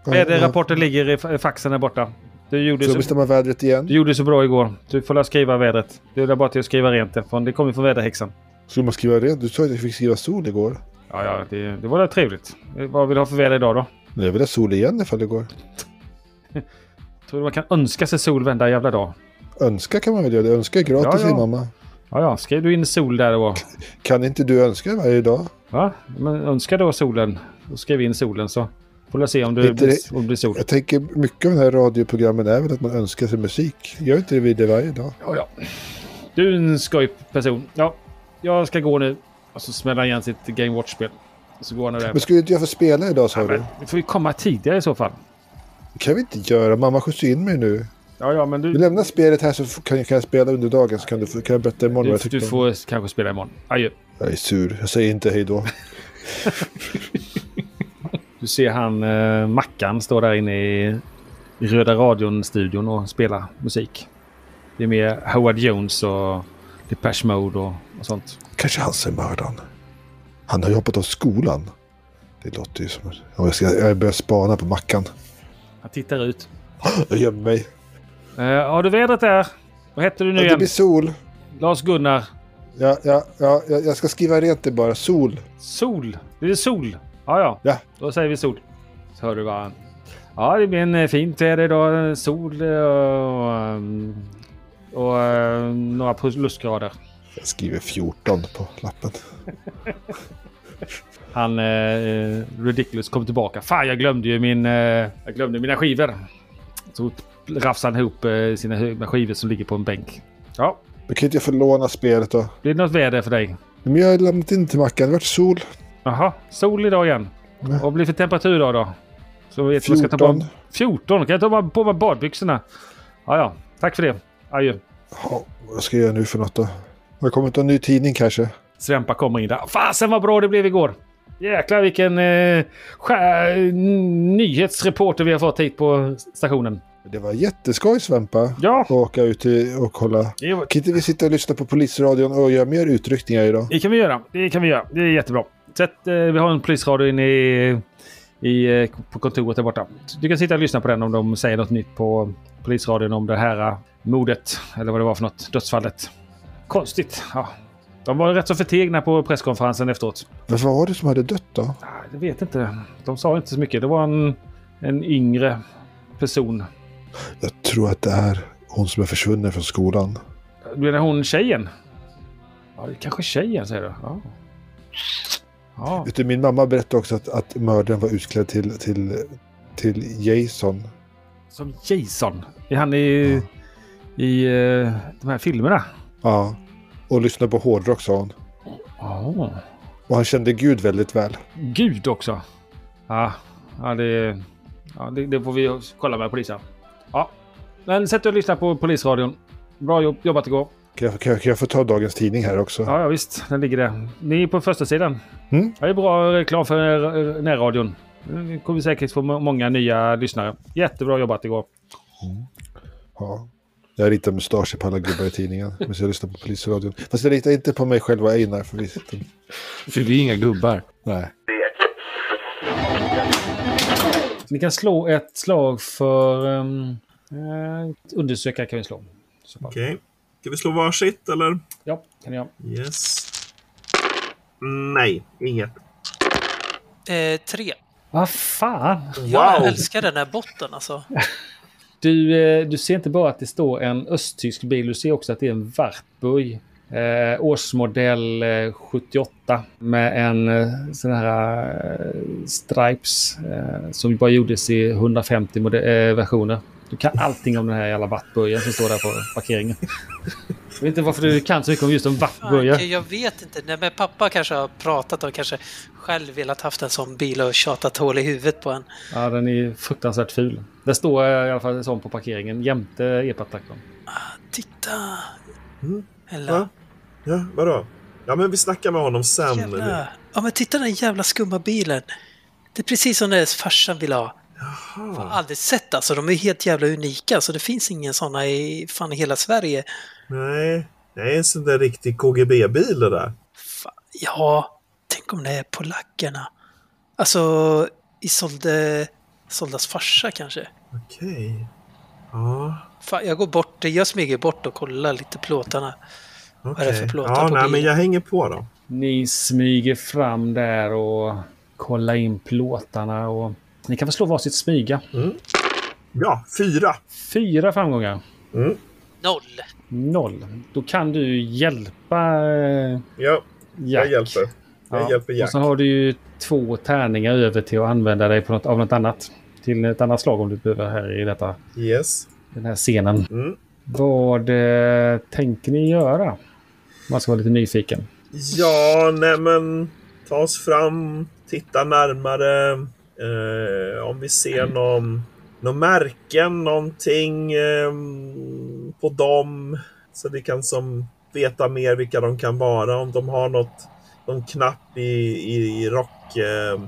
väderrapporten ligger i fa- faxen där borta. Du gjorde, Får jag så, bestämma vädret igen? du gjorde så bra igår. Du får la skriva vädret. Det är bara till att skriva rent det. från- Det kommer från väderhäxan. Skulle man skriva rent? Du sa ju att jag fick skriva sol igår. Ja, ja, det, det var väl trevligt. Eh, Vad vill du ha för väder idag då? Men jag vill ha sol igen ifall det går. Tror du man kan önska sig sol varenda jävla dag? Önska kan man väl göra? Det önskar är gratis Ja, ja. säger mamma. Ja, ja, skrev du in sol där då? Kan inte du önska varje dag? Va? Men önska då solen. Och skriv in solen så får vi se om Det är det, inte blir, om det blir sol. Jag tänker mycket av de här radioprogrammen är väl att man önskar sig musik. Gör inte det vi det varje dag? Ja, ja. Du är en skojperson. Ja, jag ska gå nu. Och så smäller han igen sitt Game Watch-spel. Och så går han och Men där. skulle inte jag få spela idag sa du? Du får ju komma tidigare i så fall. kan vi inte göra. Mamma skjutsar in mig nu. Ja, ja, men Vi du, lämnar spelet här så kan jag, kan jag spela under dagen så kan, du, få- kan jag berätta imorgon du, vad jag du tyckte. om. får kanske spela imorgon. Adjö. Jag är sur. Jag säger inte hej då. Du ser han, eh, Mackan, står där inne i Röda Radion-studion och spelar musik. Det är mer Howard Jones och Depeche Mode och, och sånt. Kanske han som är mördaren. Han har ju hoppat av skolan. Det låter ju som... Ja, Jag, ska, jag börjar spana på Mackan. Han tittar ut. Jag gömmer mig. Eh, har du vädret där? Vad heter du nu Ja, det igen? blir sol. Lars-Gunnar. Ja, ja, ja, jag jag ska skriva rent det bara. Sol. Sol. Det är sol. Ja, ja. Ja. Då säger vi sol. Så hör du bara. Ja, det blir en eh, fint väder idag. Sol eh, och, ehm, och eh, några plusgrader. Jag skriver 14 på lappen. Han eh, Ridiculous kom tillbaka. Fan, jag glömde ju min, eh, jag glömde mina skivor. Så rafsade han ihop eh, sina hö- skivor som ligger på en bänk. Ja, Men kan inte jag få låna spelet då? blir det något väder för dig? Men jag har lämnat in till Mackan. Det vart sol. Jaha, sol idag igen. Mm. Vad blir det för temperatur idag då? Så vet man ska ta på 14. 14. Kan jag ta på- på mig badbyxorna? Ja, ja. Tack för det. Adjö. Ja, vad ska jag göra nu för något då? Jag kommer ta en ny tidning kanske. Svempa kommer in där. Fasen vad bra det blev igår! Jäklar vilken eh, skär, nyhetsreporter vi har fått hit på stationen. Det var jätteskoj Svempa. Ja. Och åka ut till- och kolla. Det var- Kan inte vi sitta och lyssna på polisradion och göra mer utryckningar idag? Det kan vi göra. Det kan vi göra. Det är jättebra. Så att, eh, vi har en polisradio inne i, i, eh, på kontoret där borta. Du kan sitta och lyssna på den om de säger något nytt på polisradion om det här eh, mordet. Eller vad det var för något. Dödsfallet. Konstigt. Ja. De var rätt så förtegna på presskonferensen efteråt. Men vad var det som hade dött då? Nej, Jag vet inte. De sa inte så mycket. Det var en, en yngre person. Jag tror att det är hon som är försvunnen från skolan. Du menar hon tjejen? Ja, det är kanske tjejen säger du. Ja. Ja. Vet du, min mamma berättade också att, att mördaren var utklädd till, till, till Jason. Som Jason. Är han i, i eh, de här filmerna? Ja. Och lyssnade på hårdrock sa hon. Oh. Och han kände Gud väldigt väl. Gud också. Ja, ja, det, ja det, det får vi kolla med polisen. Ja, men sätt dig och lyssna på polisradion. Bra jobb, jobbat igår. Kan jag, kan, jag, kan jag få ta dagens tidning här också? Ja, ja visst, den ligger där. Ni är på första sidan. Mm. Ja, det är bra reklam för eh, närradion. Det kommer säkert få må- många nya lyssnare. Jättebra jobbat igår. Ja. Jag ritar mustascher på alla gubbar i tidningen. Men jag lyssnar på polisradion. Fast jag ritar inte på mig själv och Einar. För vi sitter... För vi är inga gubbar. Nej. Ni kan slå ett slag för um, eh, undersöka kan vi slå. Så bara. Okej. Ska vi slå varsitt eller? Ja, kan ni göra. Yes. Nej, inget. Eh, tre. Vad fan? Jag älskar den här botten [laughs] alltså. Du, eh, du ser inte bara att det står en östtysk bil, du ser också att det är en Wartburg. Eh, årsmodell eh, 78 med en eh, sån här eh, Stripes eh, som bara gjordes i 150 mode- eh, versioner. Du kan allting om den här jävla Wartburgen som står där på parkeringen. Jag vet inte varför du kan så mycket om just en Wartburger. Okej, jag vet inte. Nej, men pappa kanske har pratat och kanske själv velat haft en sån bil och tjatat hål i huvudet på en. Ja, den är fruktansvärt ful. Det står eh, i alla fall en sån på parkeringen jämte epatraktorn. Titta! Mm. Eller? Ja. Ja, vadå? Ja, men vi snackar med honom sen. Jävla. Ja men titta den jävla skumma bilen. Det är precis som deras farsan vill ha. Jag har aldrig sett alltså, de är helt jävla unika så det finns ingen såna i fan i hela Sverige. Nej, det är en sån där riktig KGB-bil det där. Ja, tänk om det är polackerna. Alltså i sålde, Soldas farsa kanske. Okej. Ja, Fan, jag går bort, jag smyger bort och kollar lite plåtarna. okej. är det för plåtar ja, på nej, bilen? men jag hänger på då. Ni smyger fram där och kollar in plåtarna och ni kan väl slå varsitt smyga. Ja, fyra. Fyra framgångar. Noll! Noll. Då kan du hjälpa eh, Ja, Jack. jag hjälper. Jag Ja. hjälper Och Jack. så har du ju två tärningar över till att använda dig på något, av något annat. Till ett annat slag om du behöver här i detta, Yes. den här scenen. Mm. Vad eh, tänker ni göra? Om Man ska vara lite nyfiken. Ja, nej men ta oss fram, titta närmare. Eh, om vi ser någon, någon märken, någonting eh, på dem. Så vi kan som veta mer vilka de kan vara. Om de har något, någon knapp i, i, i rock, eh,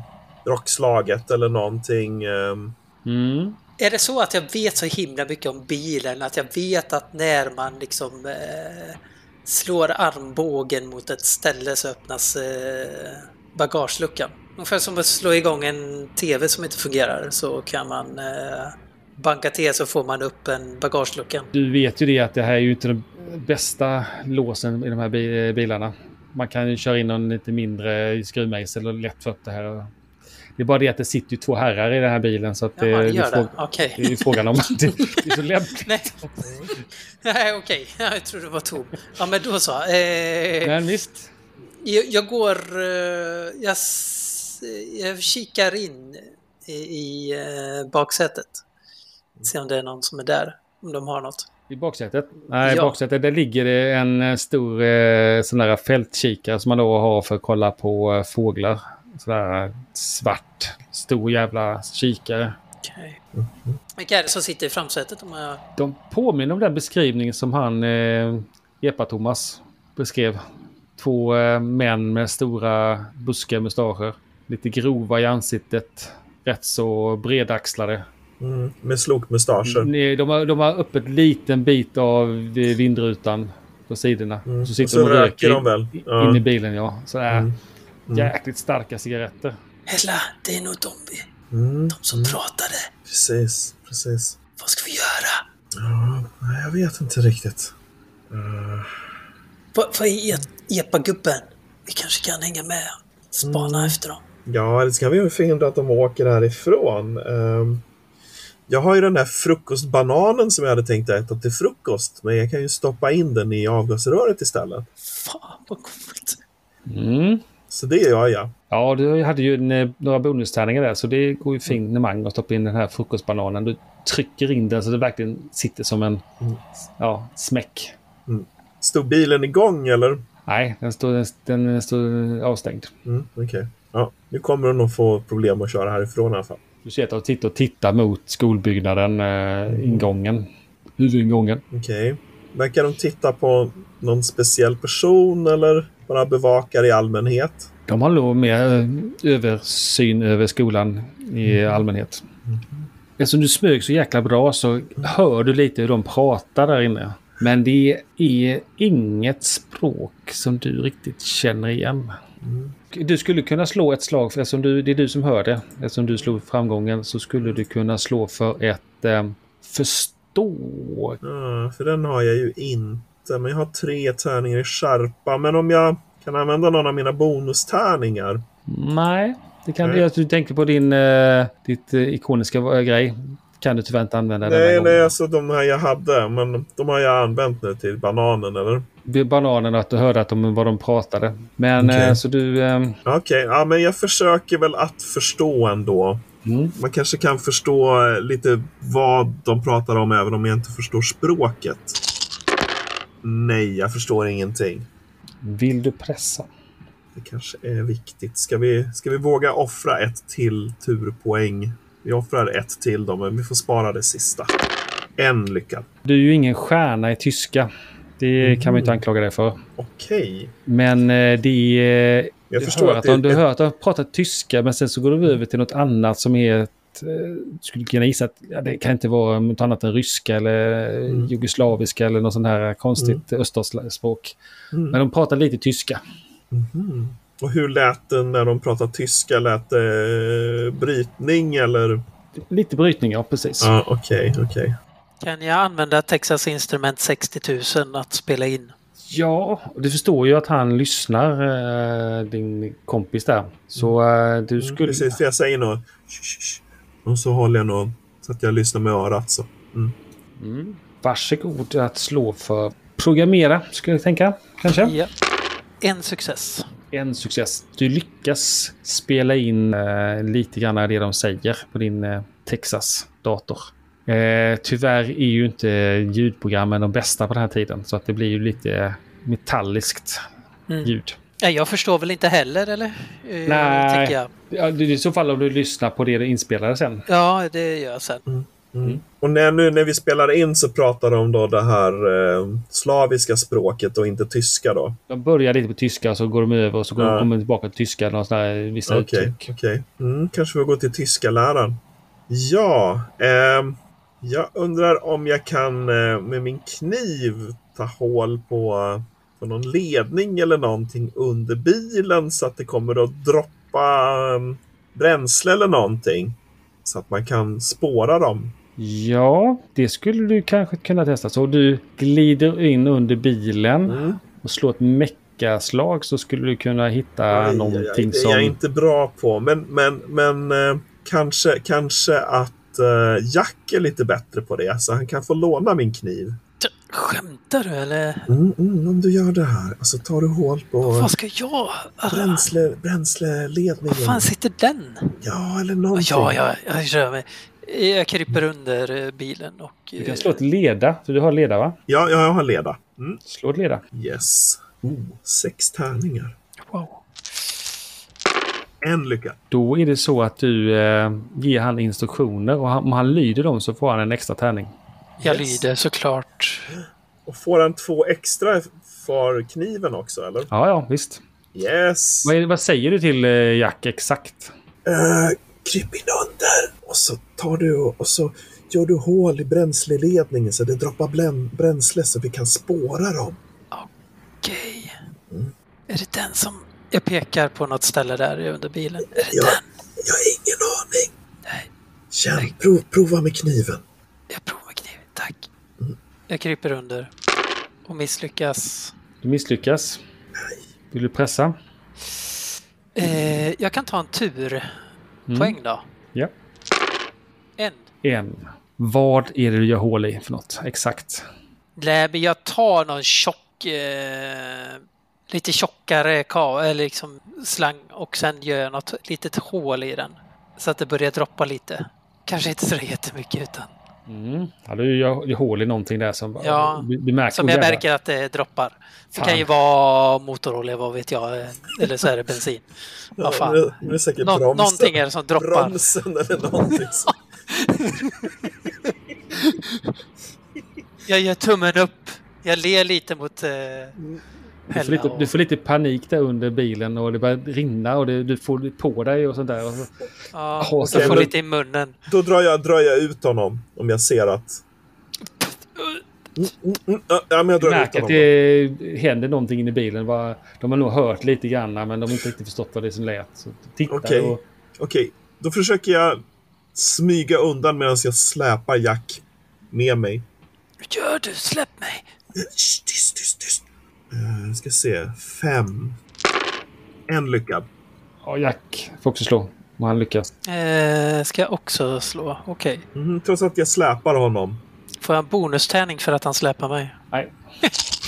rockslaget eller någonting. Eh, Mm. Är det så att jag vet så himla mycket om bilen att jag vet att när man liksom eh, slår armbågen mot ett ställe så öppnas eh, bagageluckan? Ungefär som att slå igång en TV som inte fungerar så kan man eh, banka till så får man upp en bagagelucka. Du vet ju det att det här är ju inte de bästa låsen i de här bi- bilarna. Man kan ju köra in någon lite mindre skruvmejsel och lätt få upp det här. Det är bara det att det sitter ju två herrar i den här bilen så att Ja, det, det det, är gör det. fråga, Okej. det är ju frågan om det, det är så lämpligt. Nej, [laughs] Nej, okej. Jag trodde det var tom. Ja, men då så. Eh, Men visst. Jag, jag går... eh, Jag, s- jag kikar in i, i eh, baksätet. Se om det är någon som är där. Om de har något. I baksätet? Nej, i Ja. baksätet där ligger det en eh, stor eh, sån där fältkikare som man då har för att kolla på eh, fåglar. Sådär svart, stor jävla kikare. Okej. Mm-hmm. Vilka är det som sitter i framsätet? Om jag... De påminner om den beskrivning som han, eh, Epa-Thomas, beskrev. Två eh, män med stora buskiga mustascher. Lite grova i ansiktet. Rätt så bredaxlade. Mm, med slokmustascher. Nej, de har, de har öppet liten bit av det vindrutan på sidorna. Mm. Så sitter Och så de och röker röker de väl? in- Ja. in i bilen. Ja. Sådär. Mm. Mm. Jäkligt starka cigaretter. Hella, det är nog de vi... Mm-hmm. Mm. De som pratade. Precis, precis. Vad ska vi göra? Ja, nej, jag vet inte riktigt. Eh, Vad vad är e- epa-gubben? Vi kanske kan hänga med. Spana Mm-hmm. efter dem. Ja, eller ska vi ju förhindra att de åker härifrån? Ehm, jag har ju den här frukostbananen som jag hade tänkt äta till frukost, men jag kan ju stoppa in den i avgasröret istället. Fan vad coolt. Mm. Så det gör jag. Ja, du hade ju en, eh, några bonustärningar där, så det går ju fint när Magnus stoppar in den här frukostbananen. Du trycker in den så det verkligen sitter som en ja, smäck. Stod bilen igång eller? Nej, den står, den, den står avstängd. Mm, Okej. Ja, nu kommer de nog få problem att köra härifrån i alla fall. Du ser att de tittar och tittar mot skolbyggnaden, eh, ingången. Huvudingången. Okej. Verkar de titta på någon speciell person eller bara bevakar i allmänhet? De har nog mer eh, översyn över skolan i Mm. allmänhet. Eftersom du smög så jäkla bra så hör du lite hur de pratar där inne. Men det är inget språk som du riktigt känner igen. Mm. Du skulle kunna slå ett slag, för eftersom du, det är du som hör det. Eftersom du slog framgången så skulle du kunna slå för ett eh, förstå. Ja, för den har jag ju inte. Men jag har tre tärningar i skärpa. Men om jag kan använda någon av mina bonustärningar. Nej, det kan Nej. jag, du tänker på din eh, ditt, eh, ikoniska eh, grej. Kan du tyvärr inte använda denna Nej, gången. nej, alltså de här jag hade. Men de har jag använt nu till bananen, eller? bananen och att du hörde att de, vad de pratade. Men Okej. eh, så du... Eh, Okej, ja, men jag försöker väl att förstå ändå. Mm. Man kanske kan förstå eh, lite vad de pratar om även om jag inte förstår språket. Nej, jag förstår ingenting. vill du pressa? Det kanske är viktigt. Ska vi, ska vi våga offra ett till turpoäng? Vi offrar ett till då, men vi får spara det sista. En lyckad. Du är ju ingen stjärna i tyska. Det kan man ju inte anklaga dig för. Okej. Men eh, det är... Jag du förstår hör att att det är de, du ett- hör att de pratar tyska men sen så går du över till något annat som är... ett, eh, Du skulle kunna gissa att ja, det kan inte vara något annat än ryska eller eh, Mm. jugoslaviska eller något sånt här konstigt öststatsspråk. Mm. Men de pratar lite tyska. Mhm. Och hur lät det när de pratade tyska? Lät det eh, brytning eller? Mm, Lite brytningar, precis. Ja, okej, okej. Kan jag använda Texas Instrument 60 000 att spela in? Ja, och du förstår ju att han lyssnar, eh, din kompis där. Så eh, du skulle... Mm, Precis, för jag säger nog "Shh, shh, shh." och så håller jag nog så att jag lyssnar med örat. Så. Mm. Mm. Varsågod att slå för programmera, skulle jag tänka. Kanske? Ja. En success. En success. Du lyckas spela in eh, lite grann av det de säger på din eh, Texas-dator. Eh, tyvärr är ju inte ljudprogrammen de bästa på den här tiden, så att det blir ju lite metalliskt Mm. ljud. Ja, jag förstår väl inte heller, eller? Eh, Nej. tänker Jag. Ja, det är I så fall om du lyssnar på det du inspelade sen. Ja, det gör jag sen. Och när, nu när vi spelar in så pratar de då det här eh, slaviska språket och inte tyska då. De börjar lite på tyska och så går de över och så går Ja. de, kommer de tillbaka till tyska. Någon sån här, vissa Okej, uttryck. okej. Mm, kanske vi går till tyska läraren. Ja, ehm, jag undrar om jag kan eh, med min kniv ta hål på, på någon ledning eller någonting under bilen så att det kommer att droppa ehm, bränsle eller någonting. Så att man kan spåra dem. Ja, det skulle du kanske kunna testa. Så du glider in under bilen Mm. och slår ett meckaslag så skulle du kunna hitta Aj, aj, aj, Äh, någonting det är jag som... inte bra på, men, men, men eh, kanske, kanske att eh, Jack är lite bättre på det så han kan få låna min kniv. T- Skämtar du, eller? Mm, mm, om du gör det här, alltså tar du hål på Vad ska jag? Ah, bränsle, bränsleledningen? Var fan sitter den? Ja, eller någonting. Ja, ja, jag rör mig. Jag kryper under eh, bilen och... eh, Du kan slå ett leda, för du har leda va? ja, ja, jag har leda. Mm. Slå ett leda. Yes. Oh, sex tärningar. Wow. En lycka. Då är det så att du eh, ger han instruktioner och han, om han lyder dem så får han en extra tärning. Jag Yes. lyder såklart. Och får han två extra för kniven också, eller? Ja, ja, visst. Yes. Vad, är, vad säger du till eh, Jack exakt? Uh, kryp in under Och så tar du och, och så gör du hål i bränsleledningen så det droppar blän- bränsle så vi kan spåra dem. Okej. Mm. Är det den som... Jag pekar på något ställe där under bilen. Är det Jag, den? jag har ingen aning. Känn, prov, prova med kniven. Mm. Jag kryper under och misslyckas. Du misslyckas. Vill du pressa? Eh, jag kan ta en tur. Mm. Poäng då. Ja. En. En. Vad är det du gör hål i för något? Exakt. Nej, men jag tar någon tjock... Eh, lite tjockare ka- eller liksom slang och sen gör jag något litet hål i den. Så att det börjar droppa lite. Kanske inte så jättemycket utan... Mm. Ja, du gör, gör hål i någonting där som... Ja, du, du märker, Som oh, jag jävlar. märker att det droppar. Det Fan. kan ju vara motorolja, vad vet jag. eh, Eller så är [laughs] det bensin. Ja, vad fan. nu- nu är det säkert Nå- bromsen. någonting är det som droppar. Bromsen eller någonting sånt. Jag gör tummen upp. Jag ler lite mot eh, Du får, Hella. lite, och- du får lite panik där under bilen och det börjar rinna och det, du får det på dig och sånt där. Och så, Ja, Åh, och så okej, får men- lite i munnen. Då drar jag, drar jag ut honom om jag ser att... Mm, mm, mm, ja, men jag du drar ut märker honom. att det händer någonting inne i bilen. Bara, de har nog hört lite grann men de har inte riktigt förstått vad det är som lät. Så titta Okej. och... Okej, då försöker jag smyga undan medan jag släpar Jack med mig. Hur gör du? Släpp mig! Tyst, tyst, tyst. Uh, ska se. Fem. En lyckad. Ja, Jack får också slå. Om han lyckas. Eh, ska jag också slå? Okej. Mm, trots att jag släpar honom. Får jag en bonustärning för att han släpar mig? Nej.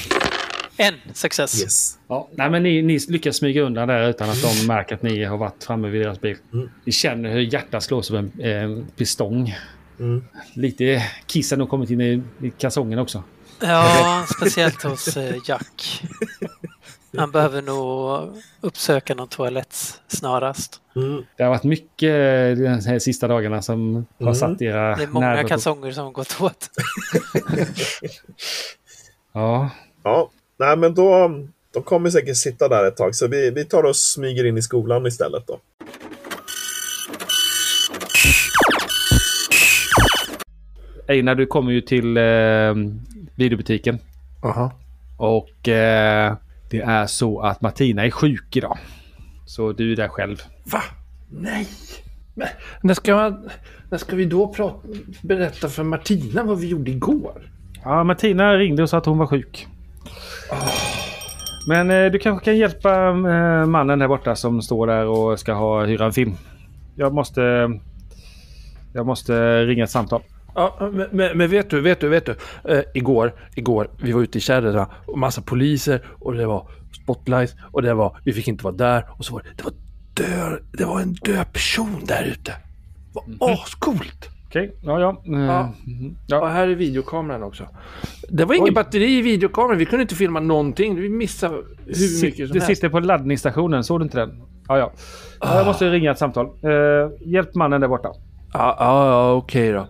[laughs] en success. Yes. Ja, nej, men ni, ni lyckas smyga undan där utan att de märker att ni har varit framme vid deras bil. Ni känner hur hjärtat slås av en eh, pistong. Mm. Lite kissen har kommit in i, i kalsongen också. [laughs] Ja, speciellt hos eh, Jack. Han behöver nog uppsöka någon toalett snarast. Mm. Det har varit mycket eh, de här sista dagarna som har Mm. satt era Det är många nerver på- kalsonger som har gått åt. Ja. Ja, nej men då... De kommer säkert sitta där ett tag, så vi, vi tar och smyger in i skolan istället då. Einar, du kommer ju till eh, videobutiken. Aha. Och eh, det är så att Martina är sjuk idag. Så du är där själv. Va? Nej! Men när ska, man, när ska vi då prata, berätta för Martina vad vi gjorde igår? Ja, Martina ringde och sa att hon var sjuk. Men eh, du kanske kan hjälpa eh, mannen där borta som står där och ska ha, hyra en film. Jag måste... Jag måste ringa ett samtal. Ja, men- men, men vet du, vet du, vet du. Eh, igår, igår, vi var ute i kärrorna och massa poliser och det var spotlights och det var, vi fick inte vara där och så var det, det var dö, det var en död person där ute. Det var ascoolt! Okej, ja, Eh, ja. Ja. Och här är videokameran också. Det var inget batteri i videokameran, vi kunde inte filma någonting, vi missade hur Sit- mycket som det helst. sitter på laddningsstationen, såg du inte den? Ja, ja. Ja, Jag måste ringa ett samtal. Eh, hjälp mannen där borta. Ja, ja, ja okej då.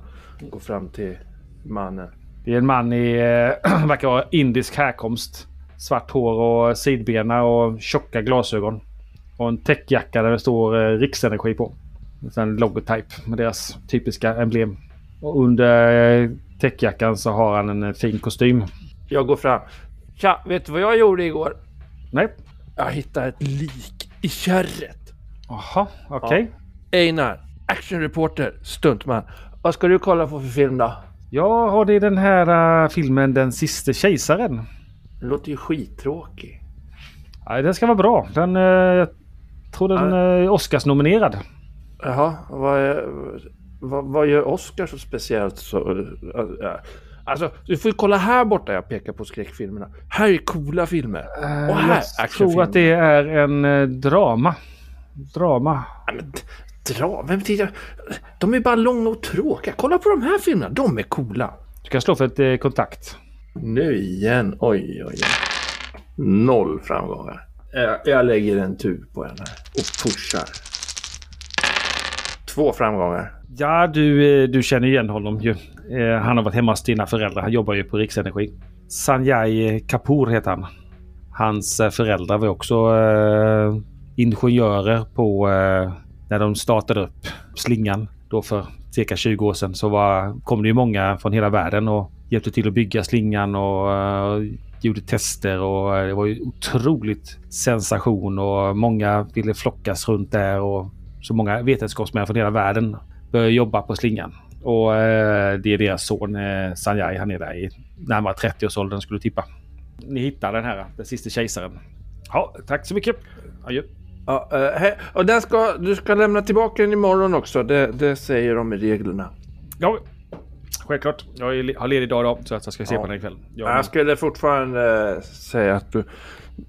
Gå fram till mannen. Det är en man i, eh, [clears throat] verkar vara indisk härkomst. Svart hår och sidbena och tjocka glasögon. Och en täckjacka där det står eh, Riksenergi på. Sen logotype med deras typiska emblem. Och under eh, täckjackan så har han en eh, fin kostym. Jag går fram. Tja, vet du vad jag gjorde igår? Nej. Jag hittade ett lik i kärret. Jaha, okej. Ja. Einar, actionreporter, stuntman. Vad ska du kolla på för film då? Ja, har det den här eh, filmen Den siste kejsaren? Den låter ju skittråkig. Nej, den ska vara bra. Den... eh, jag tror den eh, är Oscars-nominerad. Jaha, vad, är, vad, vad gör Oscar så speciellt? Så, äh, äh. alltså, du får ju kolla här borta jag pekar på skräckfilmerna. Här är coola filmer. Eh, Och här, jag tror att det är en eh, drama. Drama. Ja, men d- dra, vem tittar? De är bara långa och tråkiga. Kolla på de här filmerna, de är coola. Du kan slå för ett eh, kontakt. Nu igen, oj oj oj. Noll framgångar. Jag, jag lägger en tur på henne och pushar. Två framgångar. Ja, du, eh, du känner ju igen honom ju. Eh, Han har varit hemma hos dina föräldrar. Han jobbar ju på Riksenergi. Sanjay Kapoor heter han. Hans eh, föräldrar var också eh, ingenjörer på eh, när de startade upp slingan då för cirka 20 år sedan så var, kom det ju många från hela världen och hjälpte till att bygga slingan och eh, gjorde tester och eh, det var ju otroligt sensation och många ville flockas runt där och så många vetenskapsmän från hela världen började jobba på slingan. Och eh, det är deras son eh, Sanjay, han är där i närmare 30-årsåldern skulle du tippa. Ni hittar den här, den sista kejsaren. Ja, tack så mycket. Adjö. Ja, eh, hej. och den ska, du ska lämna tillbaka den imorgon också. Det, det säger de i reglerna. Ja, självklart. Jag är le- har ledig idag då, så att jag ska se på den ikväll. Ja, Äh. Jag skulle fortfarande eh, säga att du...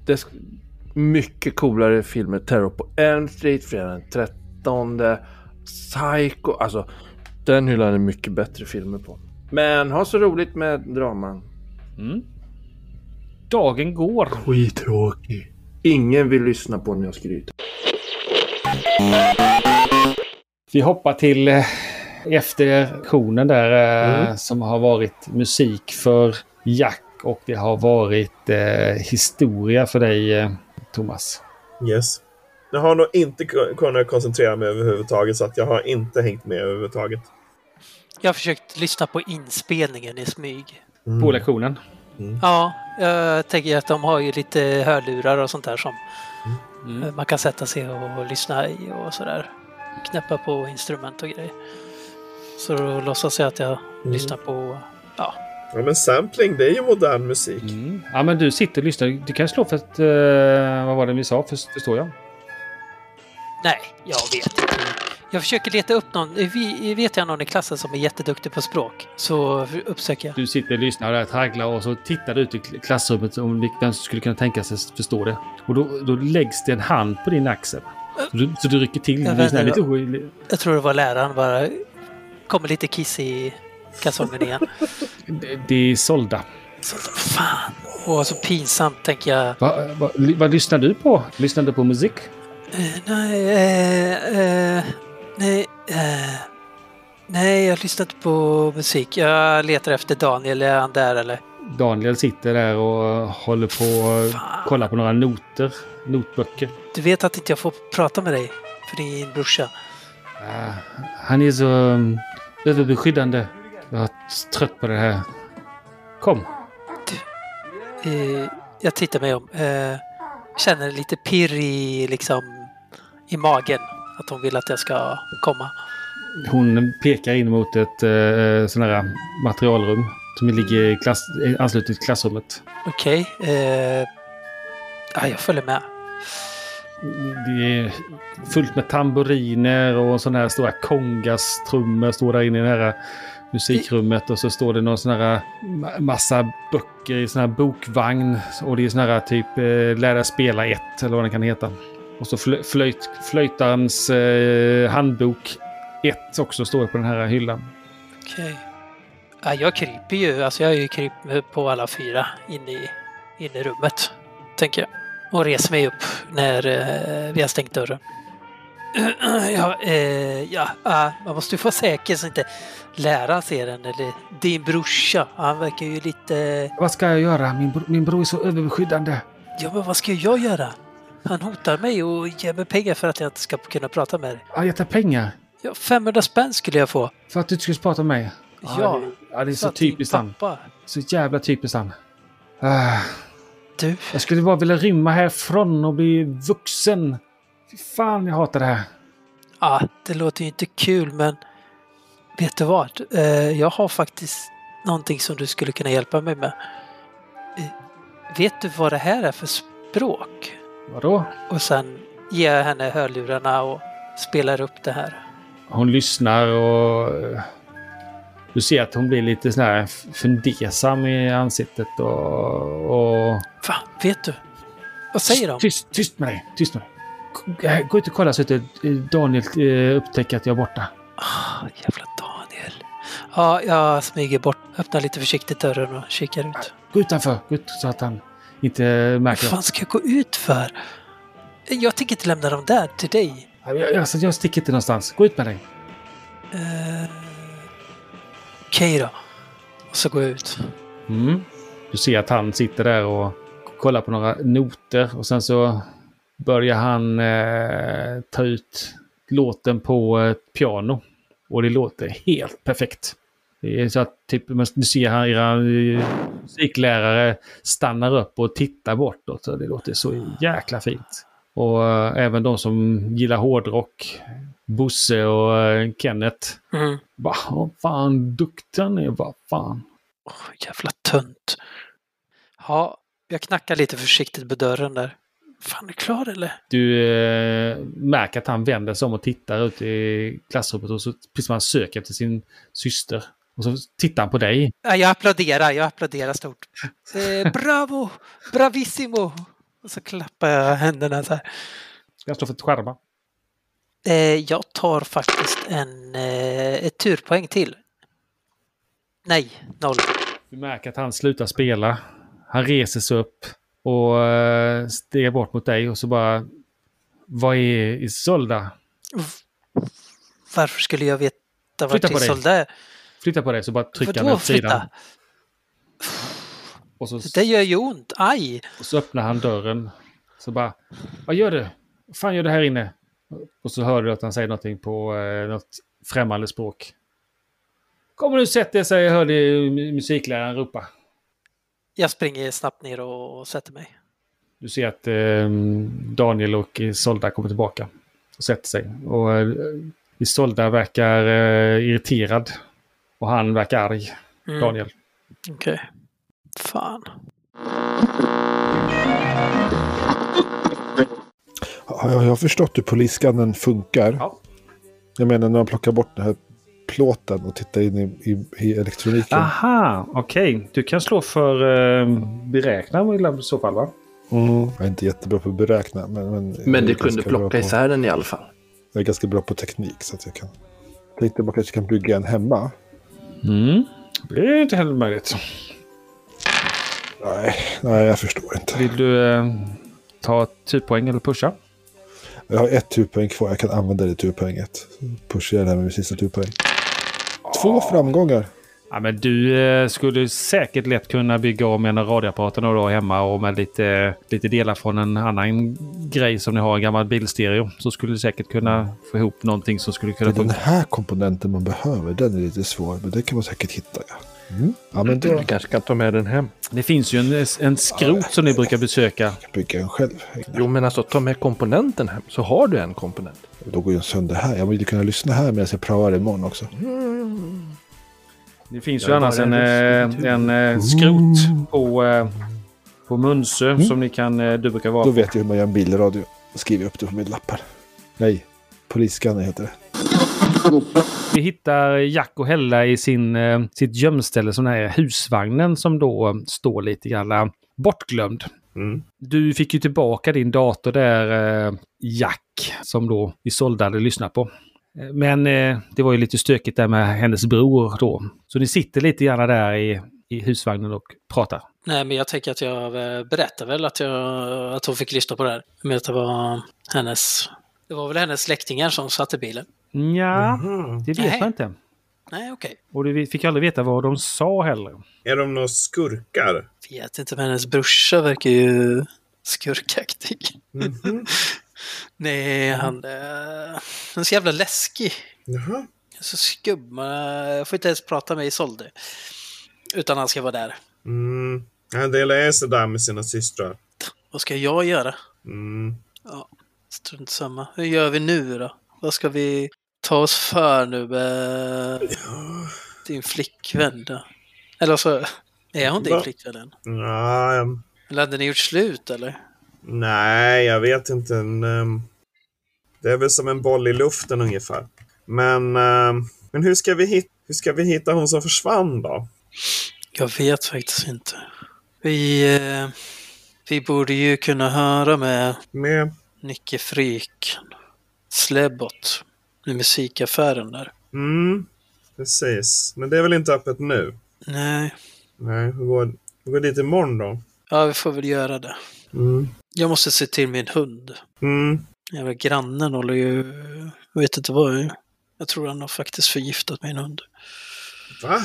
Det är sk- mycket coolare filmer. Terror på Elm Street, Fredag den 13, Psycho. Alltså, den hyllan är mycket bättre filmer på. Men ha så roligt med draman. Dagen går. Skittråkig. Ingen vill lyssna på när jag skryter. Vi hoppar till eh, efter aktionen där eh, Mm. som har varit musik för Jack och det har varit eh, historia för dig eh, Thomas. Yes. Jag har nog inte ku- kunnat koncentrera mig överhuvudtaget så att jag har inte hängt med överhuvudtaget. Jag har försökt lyssna på inspelningen i smyg. Mm. På lektionen. Ja, jag tänker att de har ju lite hörlurar och sånt där som eh, man kan sätta sig och lyssna i och sådär. Knäppa på instrument och grejer. Så då låtsas jag att jag lyssnar på... Ja. Ja, men sampling, det är ju modern musik. Mm. Ja men du sitter och lyssnar. Du kan slå för att... Eh, vad var det vi sa? För- Förstår jag? Nej, jag vet inte. Jag försöker leta upp någon. Vi- Vet jag någon i klassen som är jätteduktig på språk så uppsöker jag. Du sitter och lyssnar och där tragglar och så tittar du ut i kl- klassrummet om vilk- vem som skulle kunna tänka sig att förstå det. Och då, då läggs det en hand på din axel. Så du, så du rycker till. Jag Du blir sån här vänder lite då. orolig. Jag tror det var läraren bara. Kommer lite kiss i kalsongen igen. Det- Det är sålda. Fan! Åh, så pinsamt tänker jag. Va, va, ly- vad lyssnar du på? Lyssnar du på musik? Eh, Nej, eh, eh, nej, eh, nej, jag lyssnar inte på musik. Jag letar efter Daniel, är han där eller? Daniel sitter där och håller på och kollar på några noter. Notböcker. Du vet att inte jag får prata med dig, för din brorsa. Ah, Han är så um, överbeskyddande. Jag är trött på det här. Kom. Eh, jag tittar mig om. Eh, känner lite pirr i, liksom, i magen. Att hon vill att jag ska komma. Hon pekar in mot ett eh, sån här materialrum som ligger i klass, i anslutet till klassrummet. Okej. eh, ja, jag följer med. Det är fullt med tamburiner och sådana här stora kongastrummor står där inne i det här musikrummet och så står det någon sån här ma- massa böcker i sån här bokvagn och det är sån här typ eh, lära spela ett eller vad den kan heta. Och så flö- flöjt, flöjtarens eh, handbok ett också står på den här hyllan. Okej. Ja, jag kryper ju. Alltså jag är ju kryp på alla fyra in i, in i rummet. Tänker jag. Och reser mig upp när eh, vi har stängt dörren. [clears throat] ja, eh, ja ah, man måste ju vara säker så inte läraren ser den. Eller din brorsa. Han verkar ju lite... Vad ska jag göra? Min, bro- min bror är så överbeskyddande. Ja, men vad ska jag göra? Han hotar mig och ger mig pengar för att jag inte ska kunna prata med dig. Ja, jag tar pengar Ja, 500 spänn skulle jag få. för att du inte skulle prata med mig. Ja, det, ja, det är så att din typiskt han. pappa- Så jävla typiskt han. Ah. Du. Jag skulle bara vilja rymma härifrån och bli vuxen. Fy fan, jag hatar det här. Ja, det låter ju inte kul men vet du vad? Eh, Jag har faktiskt någonting som du skulle kunna hjälpa mig med. Eh, Vet du vad det här är för språk? Vadå? Och sen ger jag henne hörlurarna och spelar upp det här. Hon lyssnar och... eh, Du ser att hon blir lite sån här fundersam i ansiktet och... och... Va? Vet du? Vad säger de? Tyst, tyst med dig! Tyst med dig! Gå- eh, Gå ut och kolla så att eh, Daniel eh, upptäcker att jag är borta. Ah, jävla Daniel. Ja, jag smyger bort, öppnar lite försiktigt dörren och kikar ut. Gå utanför! Gå ut så att han inte Vad märker. fan ska jag gå ut för? Jag tänker inte lämna dem där till dig. Jag, jag, jag sticker inte någonstans. Gå ut med dig! Eh, Okej då. Och så går jag ut. Mm. Du ser att han sitter där och kollar på några noter och sen så börjar han eh, ta ut låten på ett piano. Och det låter helt perfekt. Det är så att typ, man ser här era eh, musiklärare stannar upp och tittar bortåt. Så det låter så jäkla fint. Och eh, även de som gillar hårdrock, Bosse och eh, Kenneth. Mm. Va, vad fan duktig han är, vad fan. Åh, jävla tönt. Ja, jag knackar lite försiktigt på dörren där. Fan, är du klar eller? Du eh, märker att han vänder sig om och tittar ut i klassrummet och så precis som han söker efter sin syster. Och så tittar han på dig. Ja, jag applåderar, jag applåderar stort. Eh, bravo, bravissimo! Och så klappar jag händerna så här. Jag står för att skärma. Eh, jag tar faktiskt en, eh, ett turpoäng till. Nej, noll. Du märker att han slutar spela. Han reser sig upp och eh, stegar bort mot dig och så bara... Vad är Isolda? Varför skulle jag veta vart Flytta på dig. Isolde är? Flytta på dig så bara trycker han Vadå åt sidan. flytta? Och så, Det där gör ju ont, aj! och så öppnar han dörren. Så bara... Vad gör du? Vad fan gör du här inne? Och så hör du att han säger någonting på eh, något främmande språk. Kommer du sätt dig, säger hörde musikläraren ropa. Jag springer snabbt ner och sätter mig. Du ser att eh, Daniel och Isolda kommer tillbaka och sätter sig. Och eh, Isolda verkar eh, irriterad och han verkar arg, Mm. Daniel. Okej. Fan. Har jag, har jag förstått hur polisskannen funkar? Ja. Jag menar när man plockar bort den här plåten och tittar in i, i, i elektroniken. Ah. Aha, okej. Du kan slå för beräkna i så fall va? Mm. Jag är inte jättebra på att beräkna. Men, men, jag är Men du ganska kunde bra plocka på, isär den i alla fall. Jag är ganska bra på teknik så att jag kan. Jag tänkte man kanske kan bygga en hemma. Mm. Det är inte heller möjligt. Nej, nej jag förstår inte. Vill du eh, ta typ poäng eller pusha? Jag har ett turpoäng kvar. Jag kan använda det turpoänget. Pusha det här med min sista turpoäng. Två framgångar. Ja, men du eh, skulle säkert lätt kunna bygga om en av radioapparaterna då hemma och med lite, lite delar från en annan grej som ni har, en gammal bilstereo. Så skulle du säkert kunna få ihop någonting som skulle Det kunna är den funka. här komponenten man behöver. Den är lite svår. Men det kan man säkert hitta. Ja, mm. ja men då Du kanske kan ta med den hem. Det finns ju en, en skrot som ni brukar besöka. kan jag bygga en själv. Jo, men alltså ta med komponenten hem så har du en komponent. Då går ju en sönder här. Jag vill ju kunna lyssna här medan jag praoar imorgon också. Det finns Jag ju är annars bara en, eh, en ruskig en eh, skrot på, eh, på Munsö som ni kan, eh, du brukar vara Då vet jag hur man gör en bilradio. Då skriver jag upp det på mina lappar. Nej, polisskanner heter det. Vi hittar Jack och Hella i sin, eh, sitt gömställe, som den här husvagnen som då eh, står lite grann eh, bortglömd. Mm. Du fick ju tillbaka din dator där, eh, Jack, som då Isolde hade lyssnat på. Eh, Men eh, det var ju lite stökigt där med hennes bror då. Så ni sitter lite grann där i, i husvagnen och pratar. Nej, men jag tänker att jag eh, berättar väl att, jag, att hon fick lyssna på det här. Men att det var hennes... Det var väl hennes släktingar som satt i bilen? Ja, Mhm. det vet Nej. man inte. Nej, okej. Och du fick aldrig veta vad de sa heller. Är de några skurkar? Vet inte, men hennes brorsa verkar ju skurkaktig. [laughs] Nej, han... eh, han är så jävla läskig. Jaha. Så skum. eh, Jag får inte ens prata med Isolde. Utan han ska vara där. Mm. En del är sådär med sina systrar. Vad ska jag göra? Mm. Ja, strunt samma. Hur gör vi nu då? Vad ska vi ta oss för nu med din flickvän då? Eller så är hon din Va? flickvän än? Ja, ehm, Eller hade ni gjort slut eller? nej, jag vet inte. En, ehm, det är väl som en boll i luften ungefär. Men, ehm, men hur, ska vi hitta, hur ska vi hitta hon som försvann då? Jag vet faktiskt inte. Vi, eh, vi borde ju kunna höra med Med, Nicke Frik Slebbot i musikaffären där. mm, precis. Men det är väl inte öppet nu? Nej, Nej, vi går, vi går dit imorgon då. ja vi får väl göra det. Mm. Jag måste se till min hund. Mm. Jävla grannen håller ju... Jag vet inte vad. jag- Jag tror han har faktiskt förgiftat min hund. Va?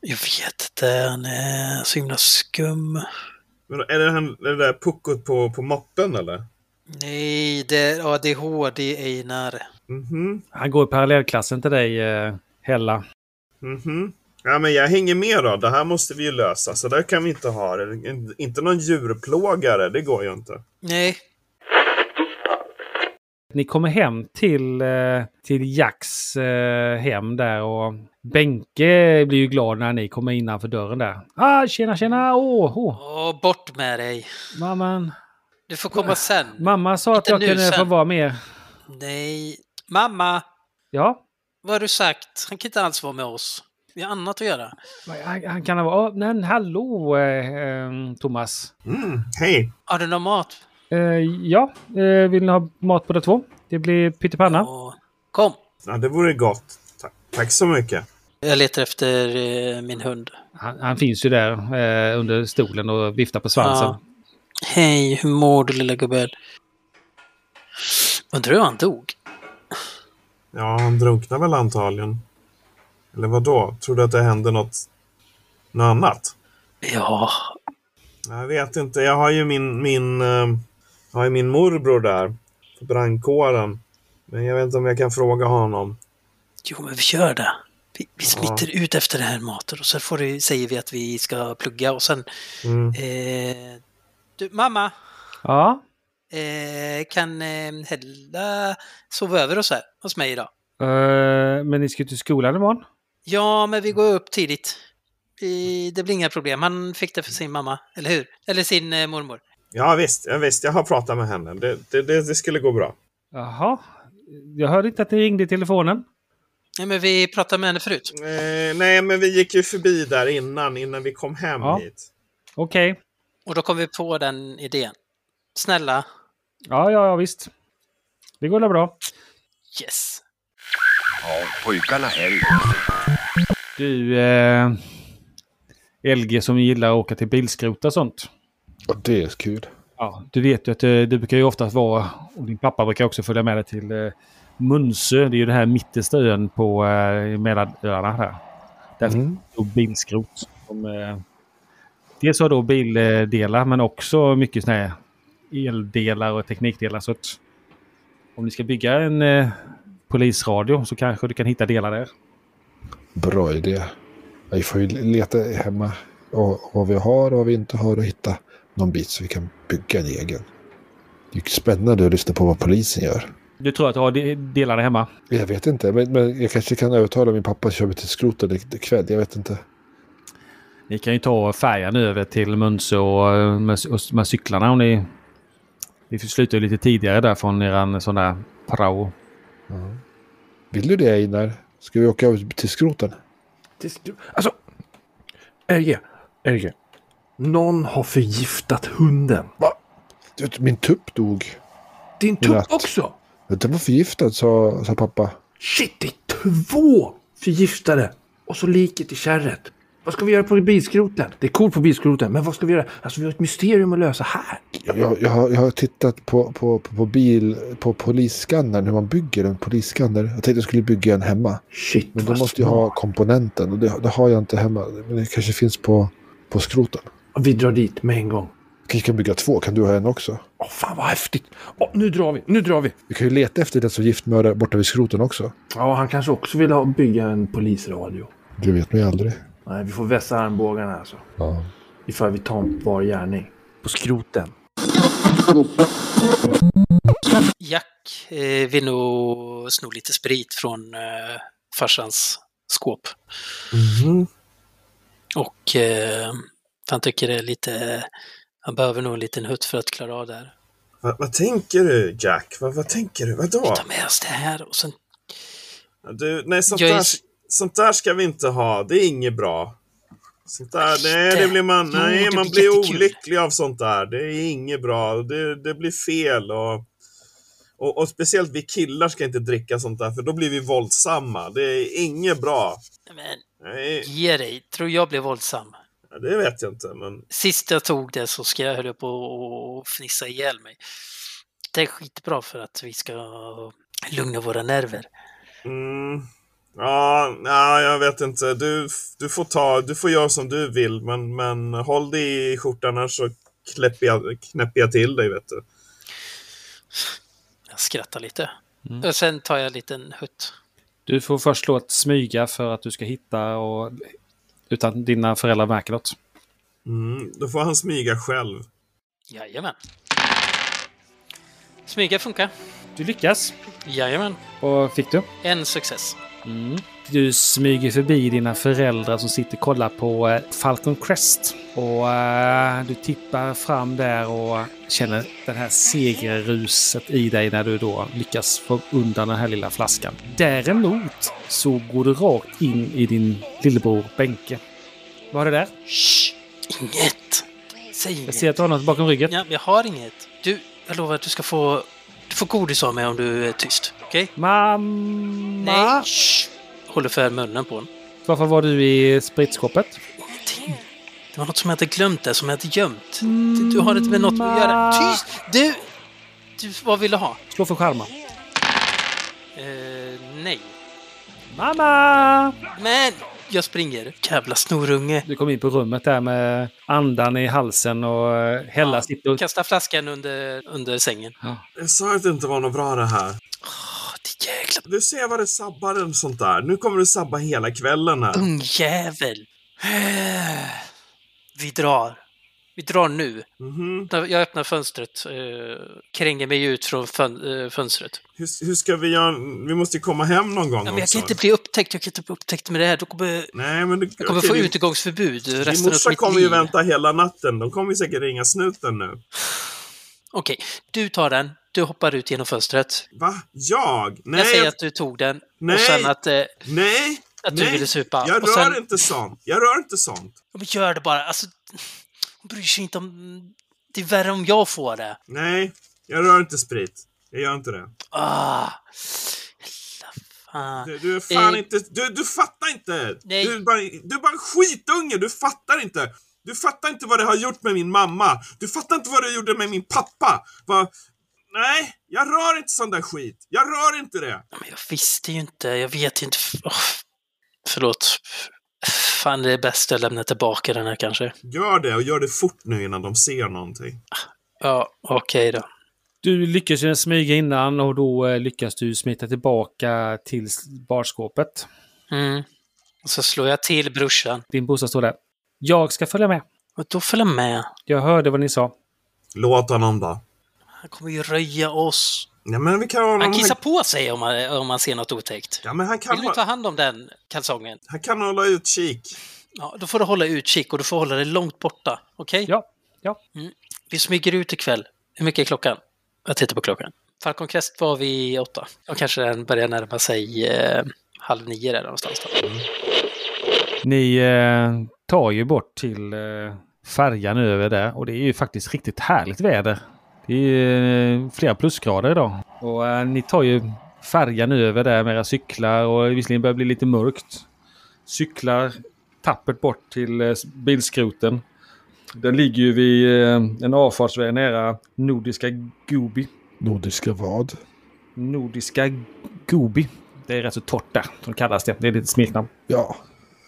Jag vet inte, han är så himla skum. Men är det han, är det där puckot på, på moppen eller? Nej, det är ADHD Einar. Mhm. Han går i parallellklassen till dig, eh, Hella. Mhm. Ja, men jag hänger med då. Det här måste vi ju lösa. Så där kan vi inte ha det. Inte någon djurplågare, det går ju inte. Nej. Ni kommer hem till, eh, till Jacks eh, hem där och Benke blir ju glad när ni kommer innanför dörren där. Ah, tjena tjena! Åh, åh. Åh, bort med dig. Mamman. Du får komma sen. Mamma sa att Inte jag nu, kunde få sen. vara med. Nej. Mamma, Ja, vad har du sagt? Han kan inte alls vara med oss. Vi har annat att göra. han, han kan ha varit... Oh, nej, hallå eh, eh, Thomas. Mm. Hej! Har du någon mat? Eh, ja, eh, vill ni ha mat båda två? Det blir pyttipanna. Kom! Ja, det vore gott. Tack, tack så mycket. Jag letar efter eh, min hund. Han, han finns ju där eh, under stolen och viftar på svansen. Ja. Hej, hur mår du lilla gubben? Undrar hur han dog? Ja, han drunknar väl antagligen. Eller vad då? Tror du att det hände något, något annat? Ja. Jag vet inte. Jag har ju min, min, eh, jag har ju min morbror där. På brandkåren. Men jag vet inte om jag kan fråga honom. Jo, men vi gör det. Vi, vi smiter ut efter det här maten och sen får du, säger vi att vi ska plugga och sen... Mm. Eh, du, mamma! Ja. Eh, kan eh, Hella sova över hos, här, hos mig idag? Eh, men ni ska ju till skolan imorgon. Ja, men vi går upp tidigt. Vi, det blir inga problem. Han fick det för sin mamma, eller hur? Eller sin eh, mormor. Ja visst, ja, visst, jag har pratat med henne. Det, det, det, det skulle gå bra. Jaha. Jag hörde inte att ni ringde i telefonen. Nej, men vi pratade med henne förut. Eh, nej, men vi gick ju förbi där innan, innan vi kom hem Ja. hit. Okej. Och då kom vi på den idén. Snälla, Ja, ja, ja, visst. Det går väl bra. yes. Har pojkarna helg? Du, eh, LG som gillar att åka till bilskrot och sånt. Ja, det är kul. Ja, du vet ju att eh, det brukar ju oftast vara, och din pappa brukar också följa med dig till eh, Munsö. Det är ju den här mittersta ön på eh, Mellanöarna. Här. Där finns det då bilskrot. Som, eh, dels har då bildelar men också mycket såna här eldelar och teknikdelar. Så att om ni ska bygga en eh, polisradio så kanske du kan hitta delar där. Bra idé. Vi får ju leta hemma och vad vi har och vad vi inte har och hitta någon bit så vi kan bygga en egen. Det är ju spännande att lyssna på vad polisen gör. Du tror att du har de- delarna hemma? Jag vet inte, men, men jag kanske kan övertala min pappa att köpa till skrotet ikväll. Jag vet inte. Ni kan ju ta färjan över till Munsö och eh, med, och med cyklarna om ni... Ni slutar ju lite tidigare där från eran sån där prao. Vill du det Einar? Ska vi åka över till skroten? Det skru- Alltså! RG. RG. Någon har förgiftat hunden. Du vet, Min tupp dog. Din I natt. tupp också! Den var förgiftad sa, sa pappa. Shit, det är två förgiftade! Och så liket i kärret. Vad ska vi göra på bilskroten? Det är coolt på bilskroten, men vad ska vi göra? Alltså, vi har ett mysterium att lösa här. Jag, jag, jag, har, jag har tittat på, på, på, på bil, på polisskannern, hur man bygger en polisskanner. Jag tänkte jag skulle bygga en hemma. Shit, Men då vad måste jag ha komponenten och det, det har jag inte hemma. Men det kanske finns på, på skroten. smart. Vi drar dit med en gång. Vi kan bygga två, kan du ha en också? Åh, fan vad häftigt! Åh, nu drar vi, nu drar vi! Vi kan ju leta efter den som giftmördar borta vid skroten också. Ja, han kanske också vill ha, bygga en polisradio. Du vet mig aldrig. Nej, vi får vässa armbågarna alltså. Ja. Ifall vi tar en var gärning. På skroten. Jack eh, vill nog sno lite sprit från eh, farsans skåp. Och eh, han tycker det är lite... Han behöver nog en liten hutt för att klara av det här. Va, vad tänker du Jack? Va, vad tänker du? Vadå? Ta med oss det här och sen... Du, nej, sånt Jag är där, s- sånt där ska vi inte ha. Det är inget bra. Sånt där, nej, Inte. det blir man, Jo, nej, det man blir blir jättekul. olycklig av sånt där. Det är inget bra. Det, det blir fel. Och, och, och speciellt vi killar ska inte dricka sånt där, för då blir vi våldsamma. Det är inget bra. Men Nej, ge dig! Tror jag blev våldsam. det vet jag inte, men Sist jag tog det så ska jag höll jag på att fnissa ihjäl mig. Det är skitbra för att vi ska lugna våra nerver. Mm. Ja, ja, jag vet inte. Du, du, får ta, du får göra som du vill, men, men håll dig i skjortan annars så knäpper jag, knäpper jag till dig, vet du. Jag skrattar lite. Mm. Och sen tar jag en liten hutt. Du får först slå ett smyga för att du ska hitta och utan att dina föräldrar märker något. Mm, då får han smyga själv. Jajamän. Smyga funkar. Du lyckas. Jajamän. Vad fick du? En success. Mm. Du smyger förbi dina föräldrar som sitter och kollar på eh, Falcon Crest. Och eh, du tippar fram där och känner det här segerruset i dig när du då lyckas få undan den här lilla flaskan. Däremot så går du rakt in i din lillebror Benke. Vad är det där? Shh, inget! Säg inget. Jag ser att du har något bakom ryggen. Ja, jag har inget. Du, jag lovar att du ska få... Du får godis av mig om du är tyst. Okej? Mamma! Nej! Shh. Håller för munnen på honom. Varför var du i spritskåpet? Det var något som jag hade glömt där, som jag hade gömt. Du, du har inte med något att göra. Tyst! Du! du vad vill du ha? Slå för charma. Eh, nej. Mamma! Men! Jag springer. Jävla snorunge. Du kom in på rummet där med andan i halsen och eh, Hella sitter och... Kasta flaskan under, under sängen. Jag sa att det inte var något bra det här. Jäkla Du ser vad det sabbar en sånt där. Nu kommer du sabba hela kvällen här. ungjävel! [sighs] Vi drar. Vi drar nu. Mhm. Jag öppnar fönstret. Eh, kränger mig ut från fön- eh, fönstret. Hur, hur ska vi göra? Vi måste ju komma hem någon gång Ja, men jag också. kan inte bli upptäckt. Jag kan inte bli upptäckt med det här. Då kommer, Nej, men du, jag kommer okej, få din- utegångsförbud Din resten av morsa mitt kommer liv. ju vänta hela natten. De kommer ju säkert ringa snuten nu. Okej, du tar den. Du hoppar ut genom fönstret. Va? Jag? Nej! jag säger att du tog den. Nej. Och sen att, eh, Nej! att du Nej. ville supa. Jag och rör sen, inte sånt. Jag rör inte sånt. Ja, Men gör det bara. Alltså, hon bryr sig inte om... Det är värre om jag får det. Nej, jag rör inte sprit. Jag gör inte det. Ah! Hela fan. Du, du är fan Eh. inte... Du, du fattar inte! Nej. Du, är bara, du är bara en skitunge, du fattar inte! Du fattar inte vad det har gjort med min mamma. Du fattar inte vad det gjorde med min pappa. Va? Nej, jag rör inte sån där skit. Jag rör inte det. Men jag visste ju inte. Jag vet ju inte. Åh, förlåt. Fan, det är bäst jag lämnar tillbaka den här kanske. Gör det och gör det fort nu innan de ser någonting. Ja, okej då. Du lyckas ju smyga innan och då eh, lyckas du smita tillbaka till s- barskåpet. Mm. Och så slår jag till brorsan. Din brorsa står där. Jag ska följa med. Och då följer jag med. Jag hörde vad ni sa. Låt honom då. Han kommer ju röja oss. Ja, men vi kan ha Han honom... kissar på sig om man, om man ser något otäckt. Ja, men han kan, Vill du ha... ta hand om den kalsongen? han kan hålla utkik. Ja, då får du hålla utkik och du får hålla dig långt borta. Okej? Ja, ja. Mm. Vi smyger ut ikväll. Hur mycket är klockan? Jag tittar på klockan. Falcon Crest var vi åtta. Och kanske den börjar närma sig eh, halv nio där någonstans. Då. Ni eh, tar ju bort till eh, färjan över där och det är ju faktiskt riktigt härligt väder. Det är eh, flera plusgrader idag. Och eh, ni tar ju färjan över där med era cyklar och visserligen börjar det bli lite mörkt. Cyklar tappert bort till eh, bilskroten. Den ligger ju vid eh, en avfartsväg nära Nordiska Gobi. Nordiska vad? Nordiska Gobi. Det är rätt så torrt där, som kallas det. Det är lite smeknamn. Ja,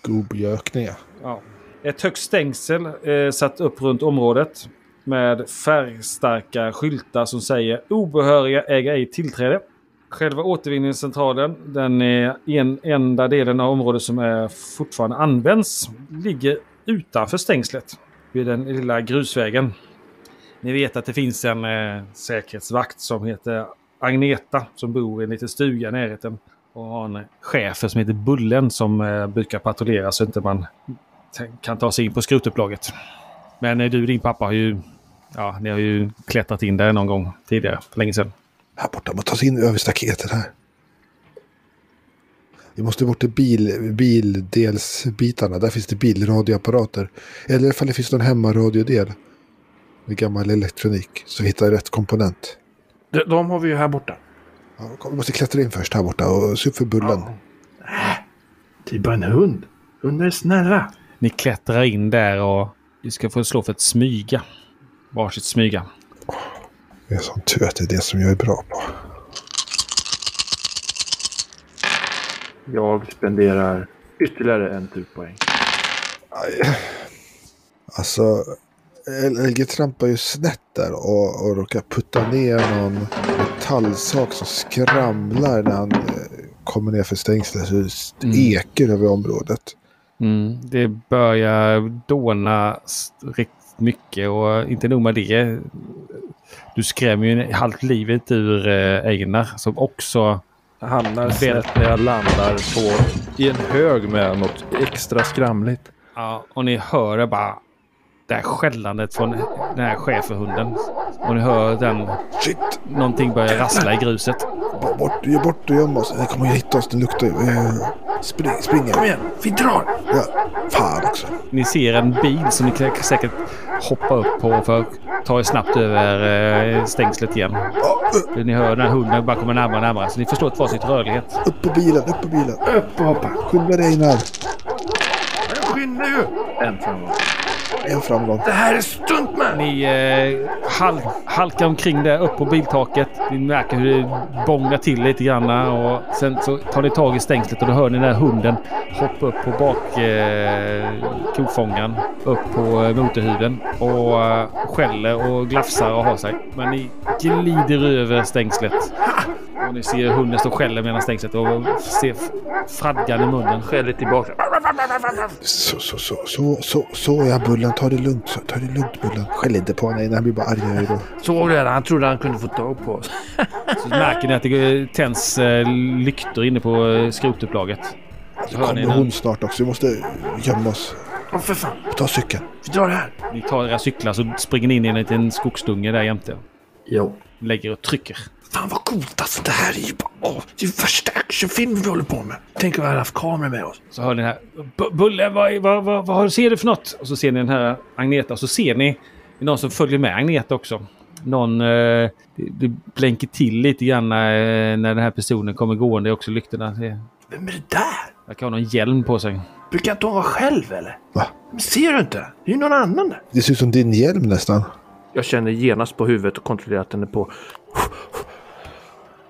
godbjökningar. Ja. Ett högt stängsel eh, satt upp runt området med färgstarka skyltar som säger obehöriga äger ej tillträde. Själva återvinningscentralen, den är en, enda delen av området som är fortfarande används, ligger utanför stängslet vid den lilla grusvägen. Ni vet att det finns en eh, säkerhetsvakt som heter Agneta som bor i en liten stuga i närheten och har en chef som heter Bullen som eh, brukar patrullera så inte man t- kan ta sig in på skrotupplaget. Men eh, du och din pappa har ju, ja, ni har ju klättrat in där någon gång tidigare, för länge sedan. Här borta, man tar sig in över staketet här. Vi måste bort till bil, bildelsbitarna. Där finns det bilradioapparater. Eller ifall det finns någon hemmaradiodel. Med gammal elektronik. Så vi hittar rätt komponent. De, de har vi ju här borta. Ja, kom, vi måste klättra in först här borta och se upp för bullen. Det är bara Typ en hund. Hundar är snälla. Ni klättrar in där och ni ska få slå för ett smyga. Varsitt smyga. Det är sån tur att det är det som jag är bra på. Jag spenderar ytterligare en typ turpoäng. Alltså, LG trampar ju snett där och, och råkar putta ner någon metallsak som skramlar när han eh, kommer ner för stängslet. Så det Mm. ekar över området. Mm, det börjar dåna s- riktigt mycket och inte nog med det. Du skrämmer ju halvt livet ur eh, Einar som också... Hamnar snett när jag landar på, i en hög med något extra skramligt. Ja, och ni hör det bara det här skällandet från den här schäferhunden. Och ni hör den... Shit! Någonting börjar rassla i gruset. B- Bort, ge bort och göm oss. Den kommer att hitta oss. Den luktar ju. Eh, Spring, spring. Kom igen, vi drar. Ja, fan också. Ni ser en bil som ni kan säkert hoppa upp på för att ta er snabbt över eh, stängslet igen. Ni hör den här hunden bara kommer närmare och närmare så ni förstår ett varsitt rörlighet. Upp på bilen, upp på bilen. Upp och hoppa. Skynda dig Einar. Skynda ju! En framgång. En framgång. Det här är stunt med! Ni eh, halk, halkar omkring där upp på biltaket. Ni märker hur det bångar till lite grann och sen så tar ni tag i stängslet och då hör ni den där hunden hoppa upp på bak eh, kofångaren upp på eh, motorhuven och eh, skäller och glafsar och har sig. Men ni glider över stängslet och ni ser hunden stå och skäller mellan stängslet och ser f- fradgan i munnen. Skäller tillbaka. Så, så, så, så, så, så ja Bullen. Ta det lugnt. Så, ta det lugnt Bullen. Skäll inte på honom. Einar. Han blir bara argare då. Såg du det? Han trodde han kunde få tag på oss. Så märker ni att det tänds eh, lyktor inne på eh, skrotuplaget. Så hör ni Kommer den- hon snart också. Vi måste gömma oss. Åh för fan, Ta cykeln. vi drar här. Ni tar era cyklar så springer ni in i en liten skogsdunge där jämte. Jo. Lägger och trycker. Fan vad coolt alltså. Det här är ju bara... Åh, det är ju värsta actionfilmen vi håller på med. Tänk om vi hade haft kameror med oss. Så hör ni den här. "Bu- Bullen, vad, är- vad, vad, vad har- ser du för något? Och så ser ni den här Agneta. Och så ser ni någon som följer med Agneta också. Någon... Eh, det, det blänker till lite grann eh, när, när den här personen kommer gående. Det är också lyktorna. Det Vem är det där? verkar ha någon hjälm på sig. Brukar inte hon vara själv eller? Va? Men ser du inte? Det är ju någon annan där. Det ser ut som din hjälm nästan. Jag känner genast på huvudet och kontrollerar att den är på.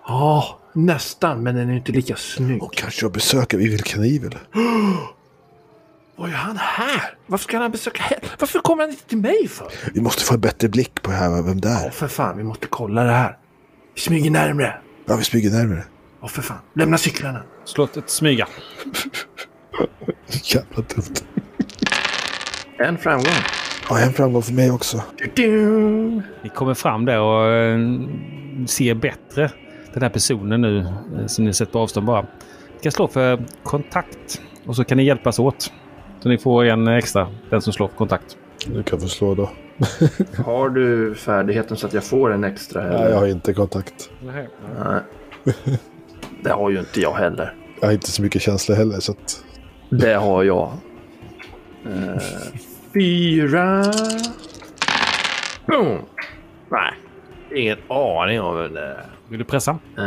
Ja, nästan. Men den är inte lika snygg. Och kanske jag besöker Evil Knievel. Vad är han här? Varför ska han besöka här? Varför kommer han inte till mig för? Vi måste få en bättre blick på det här, vem det Åh är. för fan, vi måste kolla det här. Vi smyger närmre. Ja, vi smyger närmare. [laughs] Åh för fan, lämna cyklarna. Slå ett- ett smyga. Jävla dumt. En framgång. Ja, en framgång för mig också. Du-du. Ni kommer fram där och eh, ser bättre den här personen nu eh, som ni sett på avstånd bara. Ni kan slå för kontakt och så kan ni hjälpas åt. Så ni får en extra, den som slår för kontakt. Du kan få slå då. Har du färdigheten så att jag får en extra? Eller? Nej, jag har inte kontakt. Nej. Det har ju inte jag heller. Jag har inte så mycket känsla heller, så att... Det har jag. Eh, fyra. Boom! Nej, Ingen aning om vem det är. Vill du pressa? Eh,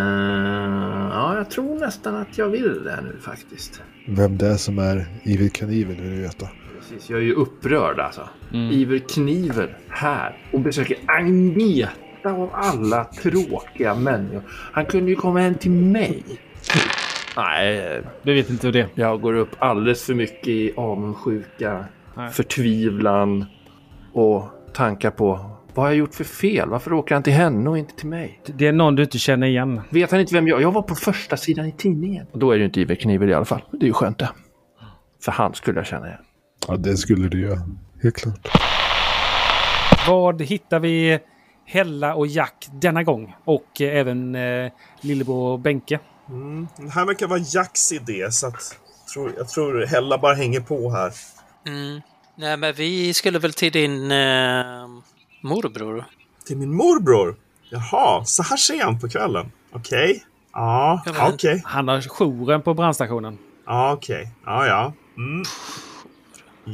ja, jag tror nästan att jag vill det nu faktiskt. Vem det är som är Evil Knievel vill du veta. Precis, jag är ju upprörd alltså. Iver Kniver här och besöker Agneta av alla tråkiga människor. Han kunde ju komma hem till mig. Nej, Du vet inte hur det är. jag går upp alldeles för mycket i avundsjuka, Nej. förtvivlan och tankar på vad har jag gjort för fel? Varför åker han till henne och inte till mig? Det är någon du inte känner igen. Vet han inte vem jag är? Jag var på första sidan i tidningen. Och då är det ju inte Iver Kniver i alla fall. Det är ju skönt det. För han skulle jag känna igen. Ja, det skulle du göra. Helt klart. Vad hittar vi Hella och Jack denna gång? Och eh, även eh, Lillebror Benke. Mm. Det här verkar vara Jacks idé, så att, tror, jag tror Hella bara hänger på här. Mm. Nej, men vi skulle väl till din eh, morbror? Till min morbror? Jaha, så här sent på kvällen? Okej. Ja, Ja, men- okej. Han har jouren på brandstationen. Ja, okej. Ja, ja. Mm.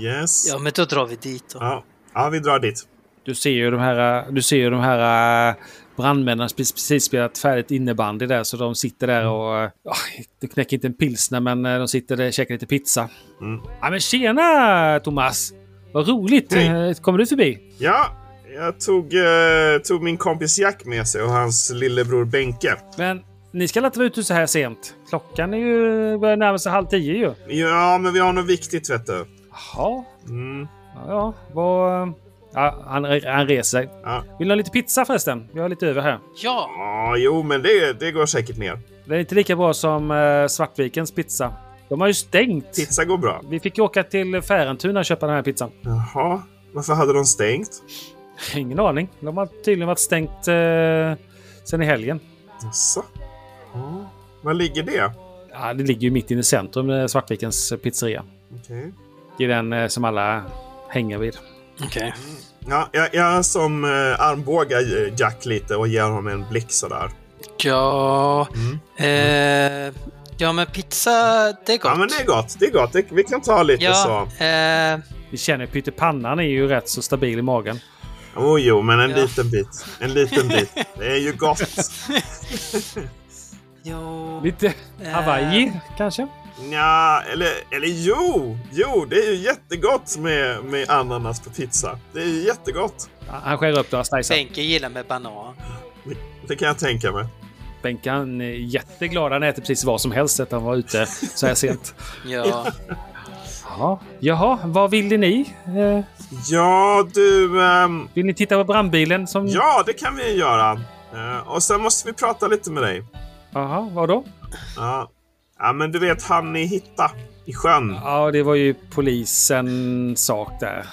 Yes. Ja, Ja. men då drar vi dit då. Ja. vi drar dit. Du ser ju de här, du ser ju de här äh, brandmännen har precis precis spelat färdigt innebandy där så de sitter där och... äh, ja, de knäcker inte en pilsner men äh, de sitter där och käkar lite pizza. Mm. Ja men tjena Thomas! Vad roligt! Hej. Äh, Kommer du förbi? Ja, jag tog, eh, tog min kompis Jack med sig och hans lillebror Benke. Men ni ska inte vara ute så här sent? Klockan är ju... börjar närma sig halv tio ju. Ja, men vi har något viktigt vet du. Jaha. Mm. Ja, ja. Vad... Ja, han, han reser sig. Vill du ha lite pizza förresten? Vi har lite över här. Ja! Ja, jo, men det, det går säkert ner. Det är inte lika bra som eh, Svartvikens pizza. De har ju stängt. Pizza går bra. Vi fick ju åka till Färentuna och köpa den här pizzan. [laughs] Jaha, varför hade de stängt? Ingen aning. De har tydligen varit stängt eh, sen i helgen. Jaså? Ja. Var ligger det? Ja, det ligger ju mitt inne i centrum, eh, Svartvikens pizzeria. Okej. Det är den eh, som alla hänger vid. Okej. Ja, jag, jag som eh, armbågar eh, Jack lite och ger honom en blick sådär. Ja... Mm. Eh, ja, men pizza, det är gott. Ja, men det är gott. Det är gott. Det, vi kan ta lite Ja, så. eh, Vi känner ju pyttipannan är ju rätt så stabil i magen. Oh, jo, men en Ja. liten bit. En liten bit. [laughs] Det är ju gott. jo, Lite Hawaii kanske? Nja, eller, eller jo! Jo, det är ju jättegott med, med ananas på pizza. Det är ju jättegott. Han skär upp några slicer. Benke gillar med banan. Det kan jag tänka mig. Benkan är jätteglad. Han äter precis vad som helst att han var ute så här sent. [laughs] Ja, Ja. Jaha, vad ville ni? Eh, Ja, du... ehm, Vill ni titta på brandbilen? Som... ja, det kan vi ju göra. Eh, och sen måste vi prata lite med dig. Jaha, vadå? Ja, ja men du vet han i Hitta i sjön. Ja, det var ju polisen sak där.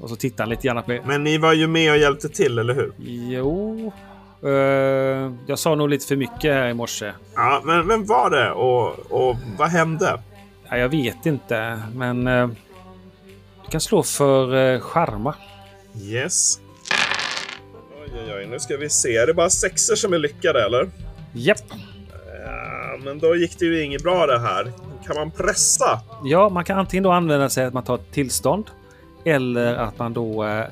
Och så tittade han lite grann på det. Men ni var ju med och hjälpte till, eller hur? Jo... Eh, jag sa nog lite för mycket här i morse. Ja, men vem var det och, och vad hände? Ja, jag vet inte, men... eh, du kan slå för eh, charma. Yes. Oj, oj, oj, nu ska vi se. Är det bara sexer som är lyckade, eller? Japp. Ja, men då gick det ju inget bra det här. Kan man pressa? Ja, man kan antingen då använda sig att man tar ett tillstånd eller att man då eh,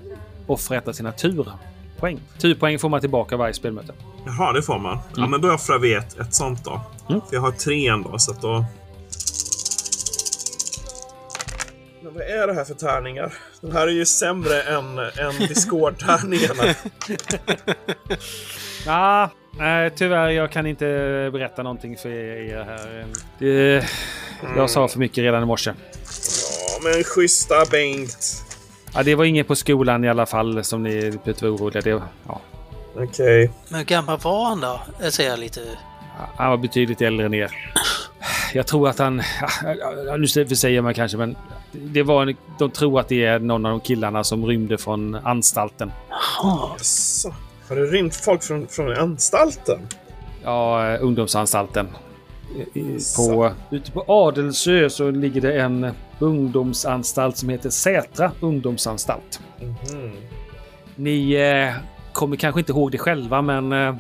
offrar ett av sina turpoäng. Turpoäng får man tillbaka varje spelmöte. Jaha, det får man. Ja, men då offrar vi ett, ett sånt då. Mm. För jag har tre ändå, så att då... Men vad är det här för tärningar? Den här är ju sämre än, än Discord-tärningarna. Ja, nej, tyvärr, jag kan inte berätta någonting för er här. Mm. Det, jag sa för mycket redan i morse. Ja, men schyssta Bengt. Ja, det var ingen på skolan i alla fall som ni blev oroliga. Det, ja, Okej. men hur gammal var han då? Jag säger lite... han var betydligt äldre än er. Jag tror att han... ja, Nu säger man kanske, men det var, en- de tror att det är någon av de killarna som rymde från anstalten. Jaha, Jaså, Har det rymt folk från, från anstalten? Ja, eh, ungdomsanstalten. I- i- På, Så. ute på Adelsö så ligger det en ungdomsanstalt som heter Sätra ungdomsanstalt. Mhm. Ni eh, kommer kanske inte ihåg det själva, men eh,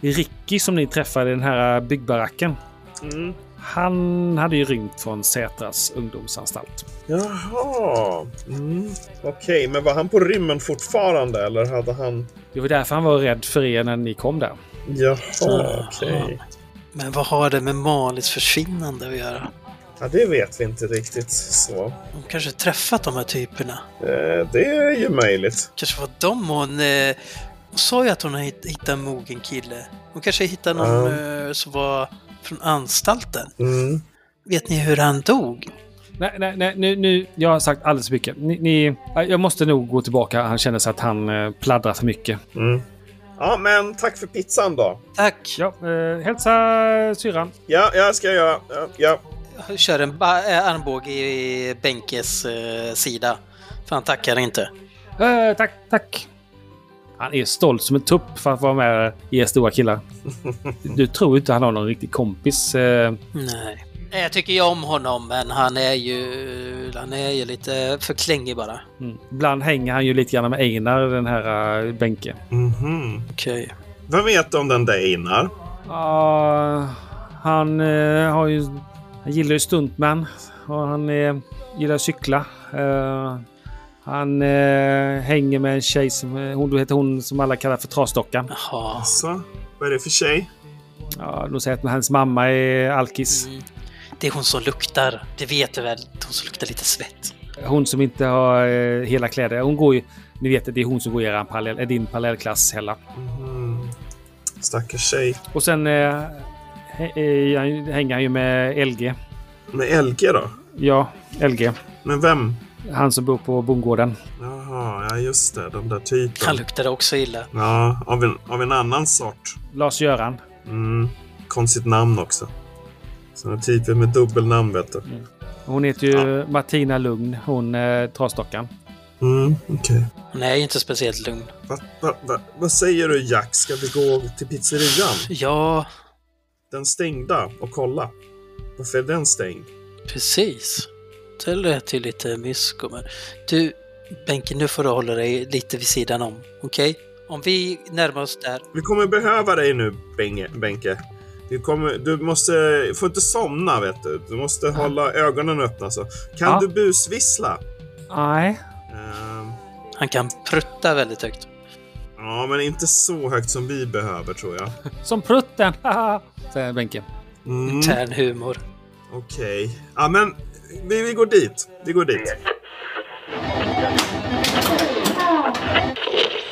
Ricky som ni träffade i den här eh, byggbaracken. Mm. Han hade ju rymt från Sätras ungdomsanstalt. Jaha. Mm. Okej, men var han på rymmen fortfarande eller hade han... Det var därför han var rädd för er när ni kom där. Jaha, okej. men vad har det med Malis försvinnande att göra? Ja, det vet vi inte riktigt så. De kanske träffat de här typerna. Eh, det är ju möjligt. kanske var dem hon... Eh, hon sa ju att hon hitt- hittade en mogen kille. Hon kanske hittade någon eh, som var från anstalten. Mm. Vet ni hur han dog? Nej, nej, nej, nu, nu, jag har sagt alldeles för mycket. Ni, ni, jag måste nog gå tillbaka. Han känner sig att han eh, pladdrar för mycket. Mm. Ja, men tack för pizzan då. Tack! Ja, eh, hälsa syrran. Ja, jag ska göra. Ja, ja. Jag kör en ba- eh, armbåge i Benkes eh, sida. För han tackar inte. Eh, tack, tack. Han är stolt som en tupp för att vara med i er stora [laughs] killar. Du tror inte han har någon riktig kompis. eh. Nej. Nej, Jag tycker ju om honom, men han är ju... Han är ju lite för klängig bara. Mm. Ibland hänger han ju lite grann med Einar, den här eh, Benke. Mhm. Okej. Vad vet du om den där Einar? Ja, han eh, har ju... Han gillar ju stuntman. Och han eh, gillar att cykla. Eh, han eh, hänger med en tjej som... eh, Hon, heter hon som alla kallar för Trasdockan. Jaha. Så, vad är det för tjej? Ja, de säger att hans mamma är alkis. Mm. Det är hon som luktar. Det vet du väl? Hon som luktar lite svett. Hon som inte har eh, hela kläder. Hon går ju... Ni vet att det är hon som går i er parallell, eh, din parallellklass, Hella. Mhm. Stackars tjej. Och sen eh, hä- eh, han- hänger han ju med LG. Med LG då? Ja, LG. Men vem? Han som bor på bondgården. Jaha. Jaha, ja just det. Den där typen. Han luktade också illa. Ja, av en, av en annan sort. Lars-Göran. Mm. Konstigt namn också. Sådana typer med dubbelnamn vet du. Hon heter ju Martina Lugn, hon eh, trasdockan. Mm, okej. Hon är ju inte speciellt lugn. Va, va, vad säger du Jack? Ska vi gå till pizzerian? Ja. Den stängda och kolla. Varför är den stängd? Precis. Det lät ju lite mysko, men... Du, Benke, nu får du hålla dig lite vid sidan om, okej? Om vi närmar oss där... Vi kommer behöva dig nu, Benge, Benke. Du, kommer, du måste, får inte somna, vet du. Du måste hålla ögonen öppna. Så. Kan Ja. du busvissla? Nej. Ehm, Han kan prutta väldigt högt. ja, men inte så högt som vi behöver, tror jag. Som prutten! Säger Benke. Mm. Intern humor. Okej. Ja, men vi, vi går dit. Vi går dit.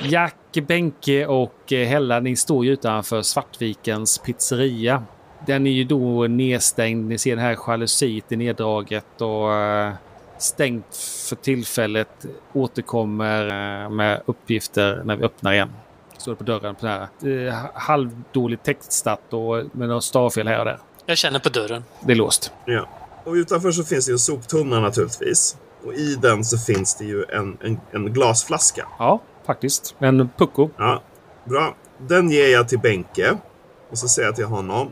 Jack, Benke och eh, Hella, ni står ju utanför Svartvikens pizzeria. Den är ju då nedstängd. Ni ser det här jalusiet är neddraget och eh, stängt för tillfället. Återkommer eh, med uppgifter när vi öppnar igen. Står det på dörren på det här. Eh, Halvdåligt textat och med några stavfel här och där. Jag känner på dörren. Det är låst. Ja. Och utanför så finns det ju en soptunna naturligtvis. Och i den så finns det ju en, en, en glasflaska. Ja, faktiskt. En pucko. Ja, bra. Den ger jag till Benke. Och så säger jag till honom.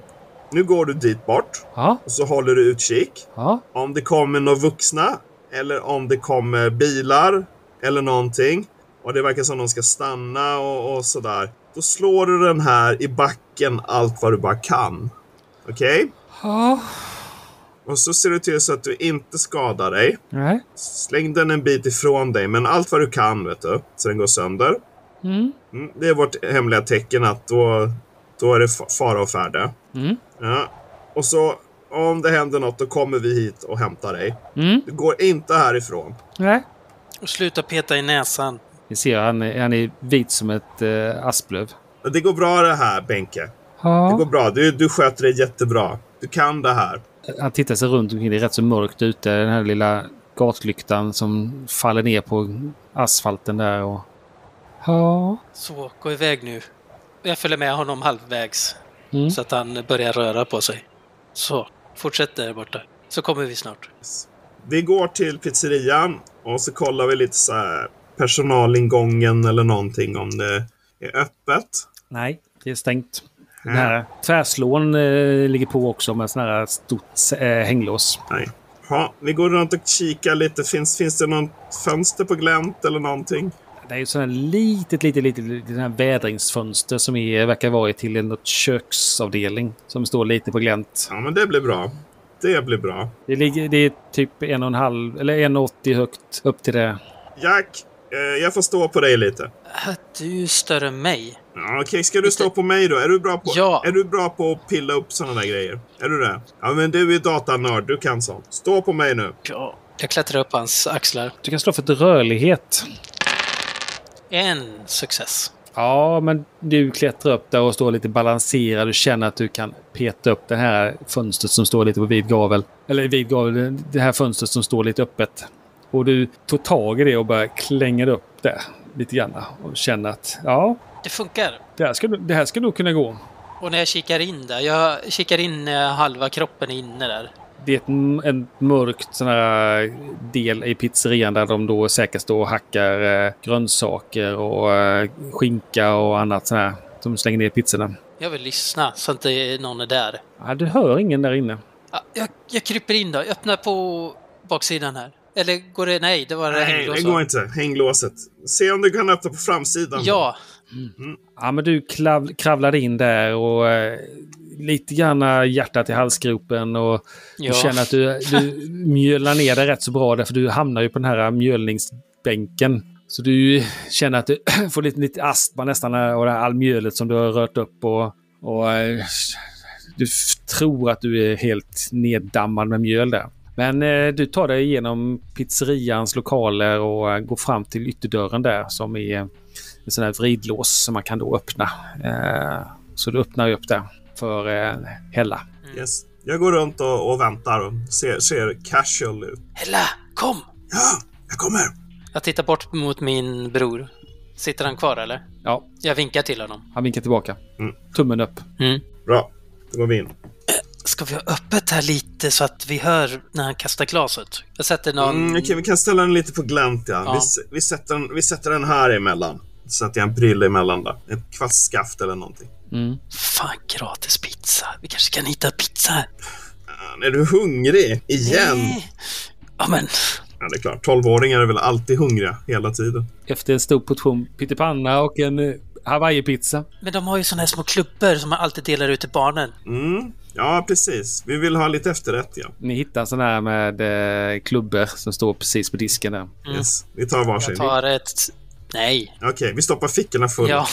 Nu går du dit bort. Ja. Och så håller du utkik. Ja. Om det kommer några vuxna. Eller om det kommer bilar. Eller någonting. Och det verkar som de ska stanna och, och sådär. Då slår du den här i backen allt vad du bara kan. Okej? Ja. Och så ser du till så att du inte skadar dig. Nej. Släng den en bit ifrån dig, men allt vad du kan, vet du. Så den går sönder. Mm. Mm, Det är vårt hemliga tecken att då, då är det fa- fara och färde. Mm. Ja. Och så om det händer något då kommer vi hit och hämtar dig. Mm. Du går inte härifrån. Nej. Och sluta peta i näsan. Ni ser, han är, han är vit som ett eh, asplöv. Det går bra det här Benke. Det går bra. Du, du sköter dig jättebra. Du kan det här. Han tittar sig runt omkring. Det är rätt så mörkt ute. Den här lilla gatlyktan som faller ner på asfalten där. Och... Ja. Så, gå iväg nu. Jag följer med honom halvvägs. Mm. Så att han börjar röra på sig. Så, fortsätt där borta. Så kommer vi snart. Vi går till pizzerian och så kollar vi lite så här personalingången eller någonting om det är öppet. Nej, det är stängt. Den här tvärslån eh, ligger på också med sån här stort eh, hänglås. Nej. Ja, vi går runt och kikar lite. Finns, finns det något fönster på glänt eller någonting? Det är ju sån här litet, litet, litet, litet sån här vädringsfönster som är, verkar vara till en något köksavdelning som står lite på glänt. Ja, men det blir bra. Det blir bra. Det, ligger, det är typ en och en halv eller 1,80 högt upp till det. Jack, eh, jag får stå på dig lite. Äh, Du är större än mig. Ja, Okej, ska du stå på mig då? Är du bra på, Ja. är du bra på att pilla upp sådana där grejer? Är du det? Ja, men du är datanörd. Du kan sånt. Stå på mig nu. Ja. Jag klättrar upp hans axlar. Du kan slå för ett rörlighet. En success. Ja, men du klättrar upp där och står lite balanserad. Du känner att du kan peta upp det här fönstret som står lite på vid gavel. Eller vid gavel, det här fönstret som står lite öppet. Och du tog tag i det och bara klänger upp det lite grann. Och känner att ja, Det funkar. det här ska, det här ska nog kunna gå. Och när jag kikar in där, jag kikar in eh, halva kroppen är inne där. Det är ett, m- en mörkt sån här del i pizzerian där de då säkert står och hackar eh, grönsaker och eh, skinka och annat sånt här. De slänger ner i pizzorna. Jag vill lyssna så att inte någon är där. Ja, du hör ingen där inne. Ja, Jag, jag kryper in då. Jag öppnar på baksidan här. Eller går det? Nej, det var Nej, det går inte. Hänglåset. Se om du kan öppna på framsidan. Ja, Ja, men du klav, kravlar in där och eh, lite grann hjärtat i halsgropen och Ja. du känner att du, du mjölar ner dig rätt så bra där för du hamnar ju på den här mjölningsbänken. Så du känner att du [clears throat] får lite, lite astma nästan eh, och det här all mjölet som du har rört upp och, och eh, du f- tror att du är helt neddammad med mjöl där. Men eh, du tar dig igenom pizzerians lokaler och eh, går fram till ytterdörren där som är en sån här vridlås som man kan då öppna. Eh, så du öppnar ju upp där för eh, Hella. Yes. Jag går runt och, och väntar och ser, ser casual ut. Hella, kom! Ja, jag kommer. Jag tittar bort mot min bror. Sitter han kvar eller? Ja. Jag vinkar till honom. Han vinkar tillbaka. Tummen upp. Mm. Bra, då går vi in. Ska vi ha öppet här lite så att vi hör när han kastar glaset? Jag sätter någon... Mm, okej, vi kan ställa den lite på glänt ja. Ja. Vi, s- vi, sätter den, vi sätter den här emellan. Sätter jag en prille emellan där. Ett kvastskaft eller någonting. Fan, gratis pizza. Vi kanske kan hitta pizza här. Fan, Är du hungrig? Igen? Nej. Ja, men... Ja, det är klart. 12-åringar är väl alltid hungriga hela tiden. Efter en stor portion pyttipanna och en eh, hawaiipizza. Men de har ju såna här små klubbor som man alltid delar ut till barnen. Mm. Ja, precis. Vi vill ha lite efterrätt, ja. Ni hittar en sån här med eh, klubbor som står precis på disken där. Yes. Vi tar varsin. Mm. Jag tar ett... Nej. Okej, vi stoppar fickorna fulla. Ja.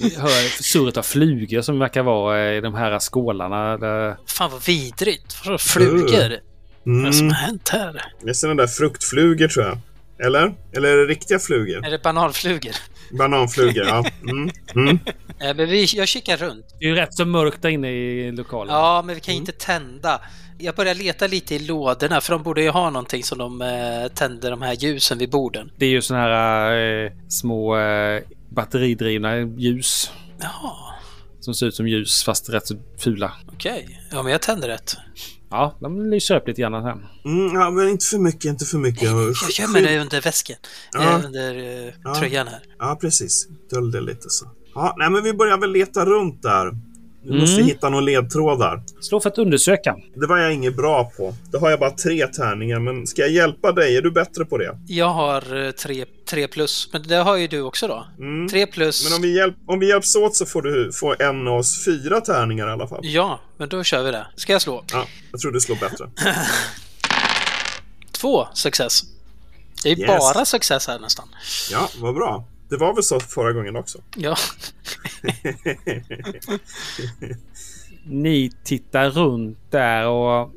Ni hör surret av flugor som verkar vara eh, i de här skålarna. Där... Fan vad vidrigt. Vadå flugor? Vad är det som Mm. har hänt här? Det är sådana där fruktflugor, tror jag. Eller? Eller är det riktiga flugor? Är det bananflugor? Bananflugor, ja. Mm. Mm. Nej, men vi, jag kikar runt. Det är ju rätt så mörkt där inne i lokalen. Mm. Ja, men vi kan ju inte tända. Jag börjar leta lite i lådorna, för de borde ju ha någonting som de eh, tänder de här ljusen vid borden. Det är ju såna här eh, små eh, batteridrivna ljus Jaha, som ser ut som ljus fast rätt så fula. okej. Ja, men jag tänder ett. Ja, de lyser upp lite grann här. Mm, ja, men inte för mycket, inte för mycket. Jag gömmer det under väsken. Ja. Eh, under eh, Ja. tröjan här. Ja, precis. Dölj det lite så. Ja, nej, men vi börjar väl leta runt där. Vi måste Mm. hitta några ledtrådar. Slå för att undersöka. Det var jag inget bra på. Då har jag bara tre tärningar, men ska jag hjälpa dig? Är du bättre på det? Jag har eh, tre, tre plus, men det har ju du också då. Mm. Tre plus. Men om vi, hjälp, om vi hjälps åt så får du få en av oss fyra tärningar i alla fall. Ja, men då kör vi det. Ska jag slå? Ja, jag tror du slår bättre. Två success. Det är ju Yes. bara success här nästan. Ja, vad bra. Det var väl så förra gången också? Ja. [laughs] Ni tittar runt där och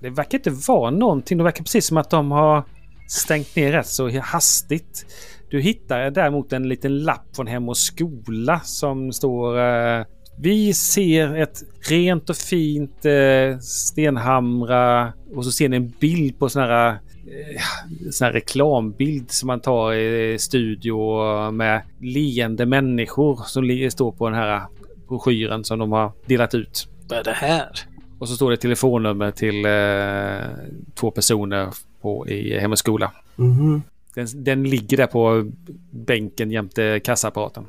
det verkar inte vara någonting. Det verkar precis som att de har stängt ner rätt så hastigt. Du hittar däremot en liten lapp från Hem och skola som står eh, Vi ser ett rent och fint eh, Stenhamra och så ser ni en bild på sån här, eh, sån här reklambild som man tar i eh, studio med leende människor som li- står på den här broschyren som de har delat ut. Vad är det här? Och så står det telefonnummer till eh, två personer på, i Hem och skola. Mhm. Den, den ligger där på bänken jämte kassaapparaten.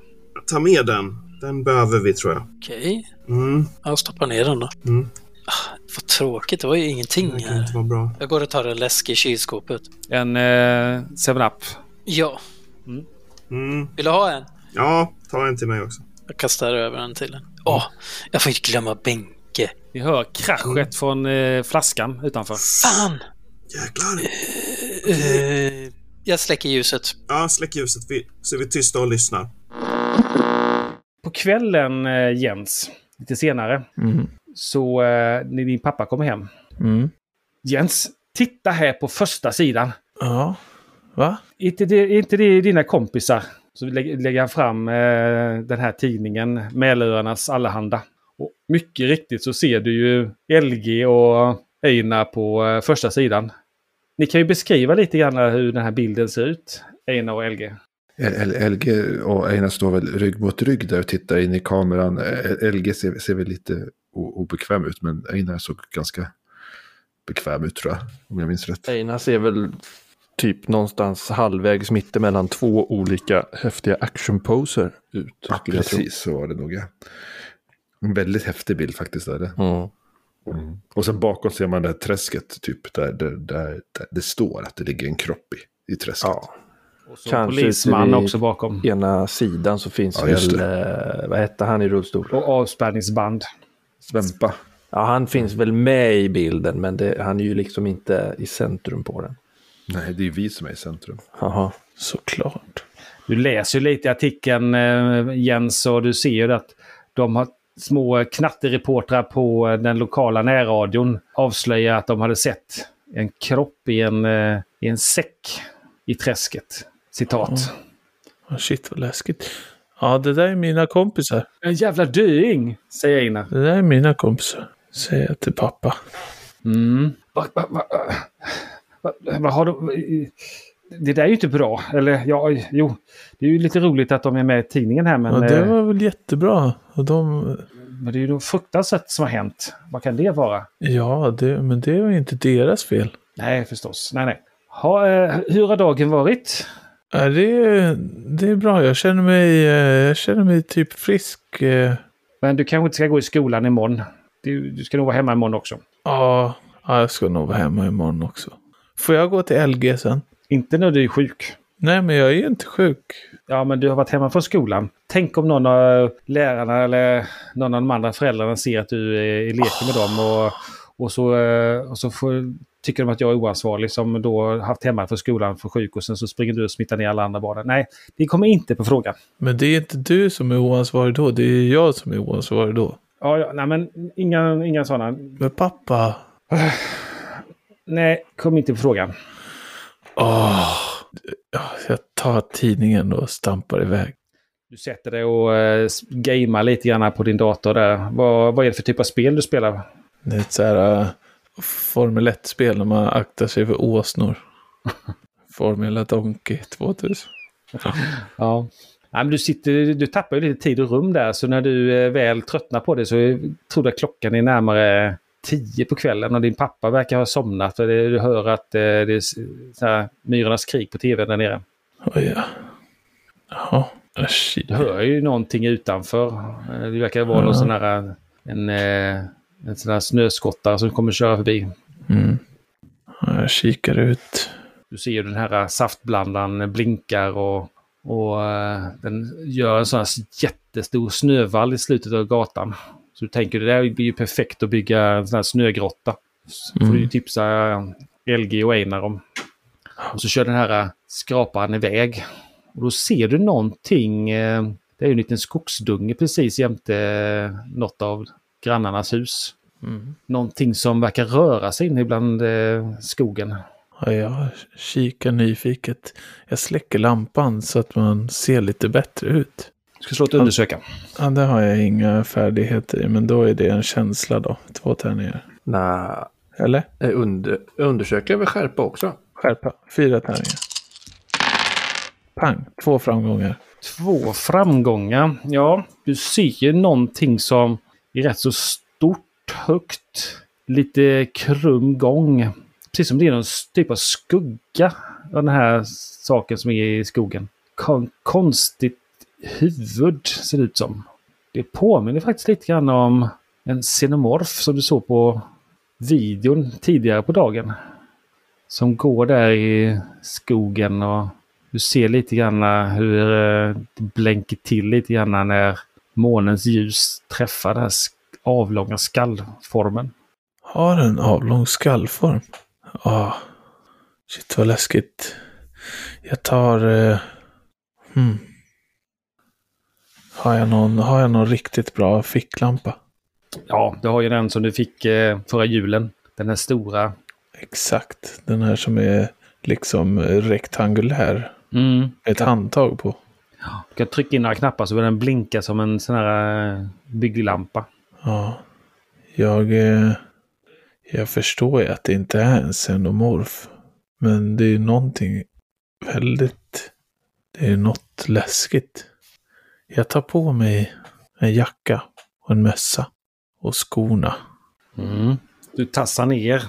Ta med den. Den behöver vi, tror jag. Okej. Mm, Jag stoppar ner den då. Mm. Ah, vad tråkigt, det var ju det ingenting kan här. inte vara bra. Jag går och tar en läsk i kylskåpet. En eh, 7-Up. Ja, Mm. vill du ha en? Ja, ta en till mig också. Jag kastar över den till en. Åh, jag får inte glömma Benke. Ni hör kraschet från eh, flaskan utanför. Fan! Jäklar! Eh, jag släcker ljuset. Ja, släck ljuset vi, så är vi tysta och lyssnar. På kvällen, eh, Jens, lite senare, Mm. så eh, när din pappa kommer hem. Mm. Jens, titta här på första sidan. Ja. Va? Inte det, inte det dina kompisar? Så lä- lägger han fram eh, den här tidningen, Mälöarnas Allehanda. Och mycket riktigt så ser du ju LG och Einar på eh, första sidan. Ni kan ju beskriva lite grann hur den här bilden ser ut, Einar och LG. L- L- LG och Einar står väl rygg mot rygg där och tittar in i kameran. L- LG ser, ser väl lite o- obekväm ut, men Einar såg ganska bekväm ut tror jag, om jag minns rätt. Einar ser väl typ någonstans halvvägs mittemellan två olika häftiga actionposer ut. Ja, skulle jag tro. precis så var det nog. ja. En väldigt häftig bild faktiskt. Där. det. Mm. Mm. Och sen bakom ser man det här träsket, typ, där, där, där, där det står att det ligger en kropp i, i träsket. Ja. Och så Kanske polisman ser vi- också bakom. Ena sidan så finns Ja, just väl, eh, vad hette han i rullstol? Och avspärrningsband. Svempa. Ja, han finns väl med i bilden, men det, han är ju liksom inte i centrum på den. Nej, det är ju vi som är i centrum. Jaha. Såklart. Du läser ju lite i artikeln eh, Jens och du ser ju att de har små knattereportrar på eh, den lokala närradion avslöjar att de hade sett en kropp i en, eh, i en säck i träsket. Citat. Oh, shit vad läskigt. Ja, det där är mina kompisar. En jävla döing, säger Einar. Det där är mina kompisar. Säger jag till pappa. Mm. Va, va, va, vad- vad har de... Det där är ju inte bra. Eller ja, jo. Det är ju lite roligt att de är med i tidningen här men... ja, det eh, var väl jättebra. Och de... Men det är ju något fruktansvärt som har hänt. Vad kan det vara? Ja, det, men det var ju inte deras fel. Nej, förstås. Nej, nej. Ha, eh, hur har dagen varit? Ja, det, är- det är bra. Jag känner mig, eh, jag känner mig typ frisk. eh. Men du kanske inte ska gå i skolan imorgon. Du, du ska nog vara hemma imorgon också. Ja, ja, jag ska nog vara hemma imorgon också. Får jag gå till LG sen? Inte när du är sjuk. Nej, men jag är ju inte sjuk. Ja, men du har varit hemma från skolan. Tänk om någon av lärarna eller någon av de andra föräldrarna ser att du eh, leker med dem och, och så, eh, och så får, tycker de att jag är oansvarig som då haft hemma från skolan för sjuk och sen så springer du och smittar ner alla andra barnen. Nej, det kommer inte på frågan. Men det är inte du som är oansvarig då, det är jag som är oansvarig då. Ja, ja nej, men inga, inga sådana. Men pappa. Nej, kom inte på frågan. Åh. Ja, Jag tar tidningen och stampar iväg. Du sätter dig och eh, s- gamear lite grann på din dator där. Vad, vad är det för typ av spel du spelar? Det är ett så här äh, Formel 1-spel när man aktar sig för åsnor. Formula Donkey 2000. Ja. Nej, men du, sitter, du tappar ju lite tid och rum där, så när du eh, väl tröttnar på det så eh, tror du att klockan är närmare tio på kvällen och din pappa verkar ha somnat. För det, du hör att eh, det är s- så här, myrornas krig på tv där nere. Oj, ja. Ja, Du hör ju någonting utanför. Eh, Det verkar vara någon Ja. sån här, en, eh, en sån här snöskottare som kommer köra förbi. Mm. Ja, Jag kikar ut. Du ser ju den här eh, saftblandaren blinkar och, och eh, den gör en sån här jättestor snövall i slutet av gatan. Så du tänker det där blir ju perfekt att bygga en sån här snögrotta. Så får du ju Mm. tipsa LG och Einar om. Och så kör den här eh, skraparen iväg. Och då ser du någonting. eh, Det är ju en liten skogsdunge precis jämte eh, något av grannarnas hus. Mm. Någonting som verkar röra sig in ibland eh, skogen. Ja, jag kikar nyfiket. Jag släcker lampan så att man ser lite bättre ut. Ska slå ett undersöka. Ja, det har jag inga färdigheter i, men då är det en känsla då. Två tärningar. Nej. Eller? Eh, Under, undersöka med skärpa också. Skärpa. Fyra tärningar. Pang, två framgångar. Två framgångar. Ja, du ser ju någonting som är rätt så stort, högt, lite krum gång. Precis som det är någon s- typ av skugga av den här saken som är i skogen. Kon konstigt huvud ser det ut som. Det påminner faktiskt lite grann om en xenomorf som du såg på videon tidigare på dagen. Som går där i skogen och du ser lite grann hur eh, det blänker till lite grann när månens ljus träffar den här sk- avlånga skallformen. Har en avlång skallform. Ja. Shit vad läskigt. Jag tar... Eh, hmm. har, jag någon, har jag någon riktigt bra ficklampa? Ja, du har ju den som du fick eh, förra julen. Den här stora. Exakt. Den här som är liksom rektangulär. Mm. Ett handtag på. Du kan trycka in några knappar så börjar den blinka som en sån här eh, bygglampa. Ja. Jag, eh, jag förstår ju att det inte är en xenomorf. Men det är ju någonting väldigt... Det är något läskigt. Jag tar på mig en jacka och en mössa. Och skorna. Du tassar ner.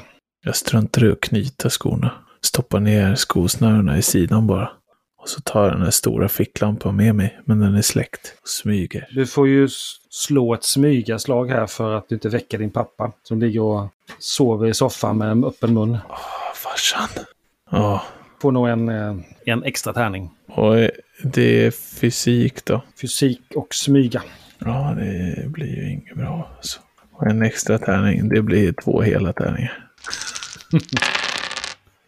Jag struntar i att knyta skorna. Stoppar ner skosnörena i sidan bara. Och så tar jag den här stora ficklampan med mig. Men den är släckt. Och smyger. Du får ju s- slå ett smygaslag här för att du inte väcker din pappa som ligger och sover i soffan med en öppen mun. Åh, farsan. Ja. Får nog en, eh, en extra tärning. Och eh, det är fysik då. Fysik och smyga. Ja, det blir ju inget bra. alltså. Och en extra tärning, det blir två hela tärningar.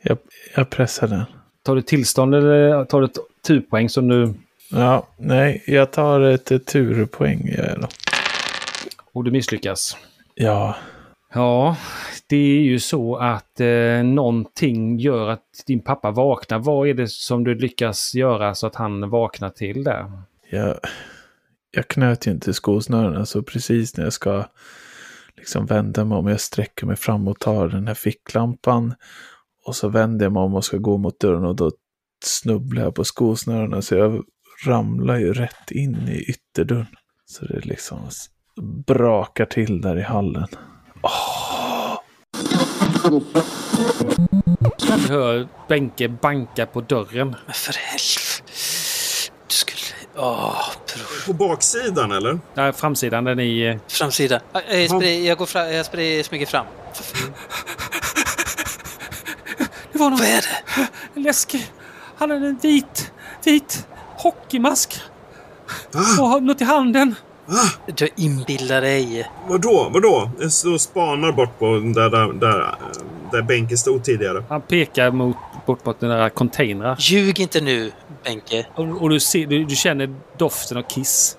jag, jag pressar den. Tar du tillstånd eller tar du ett turpoäng som du... Ja, nej, jag tar ett eh, turpoäng. Gör jag då. Och du misslyckas? Ja. Ja, det är ju så att eh, någonting gör att din pappa vaknar. Vad är det som du lyckas göra så att han vaknar till det? Jag, jag knöt ju inte skosnörena, så precis när jag ska liksom vända mig om, jag sträcker mig fram och tar den här ficklampan Och så vänder jag mig om och ska gå mot dörren och då snubblar jag på skosnörena så jag ramlar ju rätt in i ytterdörren. Så det liksom s- brakar till där i hallen. Du hör Benke banka på dörren. Men för helvete. Du skulle... Åh, bror. På baksidan eller? Nej, framsidan den är... eh, Framsidan. Eh, Jag, spri- jag, går fram, jag spri- smyger fram. Det var någon... Vad är det? En läskig... Han hade en vit, vit hockeymask. Och har något i handen. Du inbillar dig. Vadå? Vadå? Jag står och spanar bort på den där, där, där, eh, där bänken stod tidigare. Han pekar mot, bort mot dina containrar. Ljug inte nu, Benke. Och, och du, ser, du, du känner doften av kiss.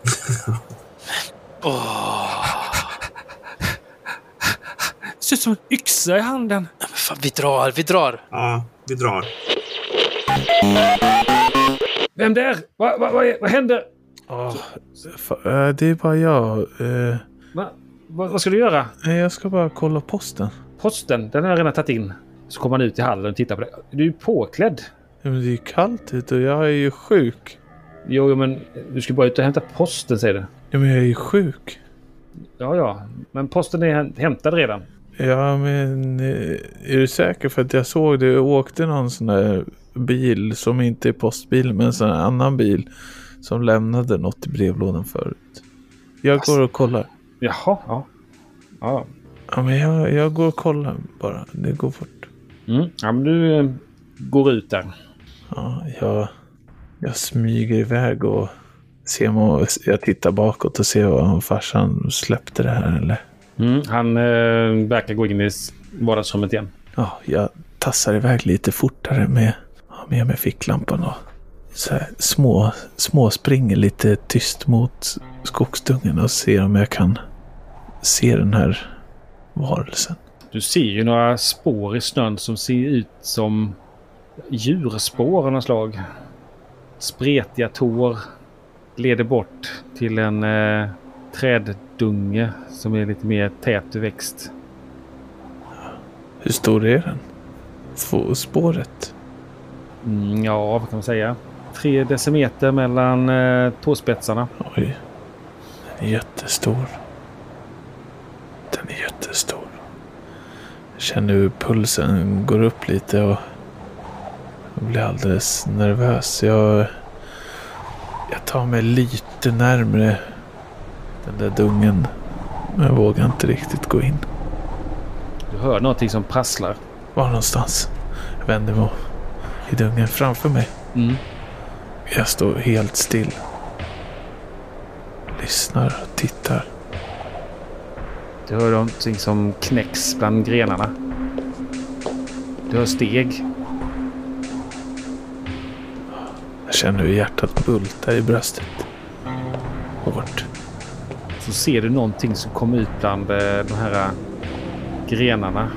Det ser ut som en yxa i handen. Fan, vi drar, vi drar. Ja, vi drar. Vem där? Vad va, va, vad händer? Fa- eh, Det är bara jag. eh, Va, va, vad ska du göra? nej, Jag ska bara kolla posten. Posten, den har jag redan tagit in. Så kommer han ut i hallen och tittar på dig. Du är ju påklädd. Men det är ju kallt ute och jag är ju sjuk. Jo, jo, men du ska bara ut och hämta posten, säger du. Ja, men jag är ju sjuk. Ja, ja. Men posten är häm- hämtad redan. Ja, men eh, är du säker? För att jag såg det åkte någon sån där bil som inte är postbil, men en sån här annan bil som lämnade något i brevlådan förut. Jag går och kollar. Jaha, ja. Ja, Ja, men jag, jag går och kollar bara. Det går fort. Mm. Ja, men du eh, går ut där. Ja, jag, jag smyger iväg och ser om, jag tittar bakåt och ser om farsan släppte det här eller. Mm. Han eh, verkar gå in i s- vardagsrummet igen. Ja, jag tassar iväg lite fortare med, har med mig ficklampan och så här, små, små springer lite tyst mot skogsdungen och ser om jag kan se den här varelsen. Du ser ju några spår i snön som ser ut som djurspår av något slag. Spretiga tår leder bort till en eh, träddunge som är lite mer tätväxt. Hur stor är den? Få spåret? Mm, ja, vad kan man säga? Tre decimeter mellan eh, tåspetsarna. Oj. Den är jättestor. Den är jättestor. Jag känner hur pulsen går upp lite och jag blir alldeles nervös. Jag, jag tar mig lite närmre den där dungen. Men jag vågar inte riktigt gå in. Du hör någonting som prasslar. Var någonstans? Jag vänder mig om. I dungen framför mig. Mm. Jag står helt still. Lyssnar och tittar. Du hör någonting som knäcks bland grenarna. Du hör steg. Jag känner hur hjärtat bultar i bröstet. Hårt. Så ser du någonting som kommer ut bland eh, de här eh, grenarna.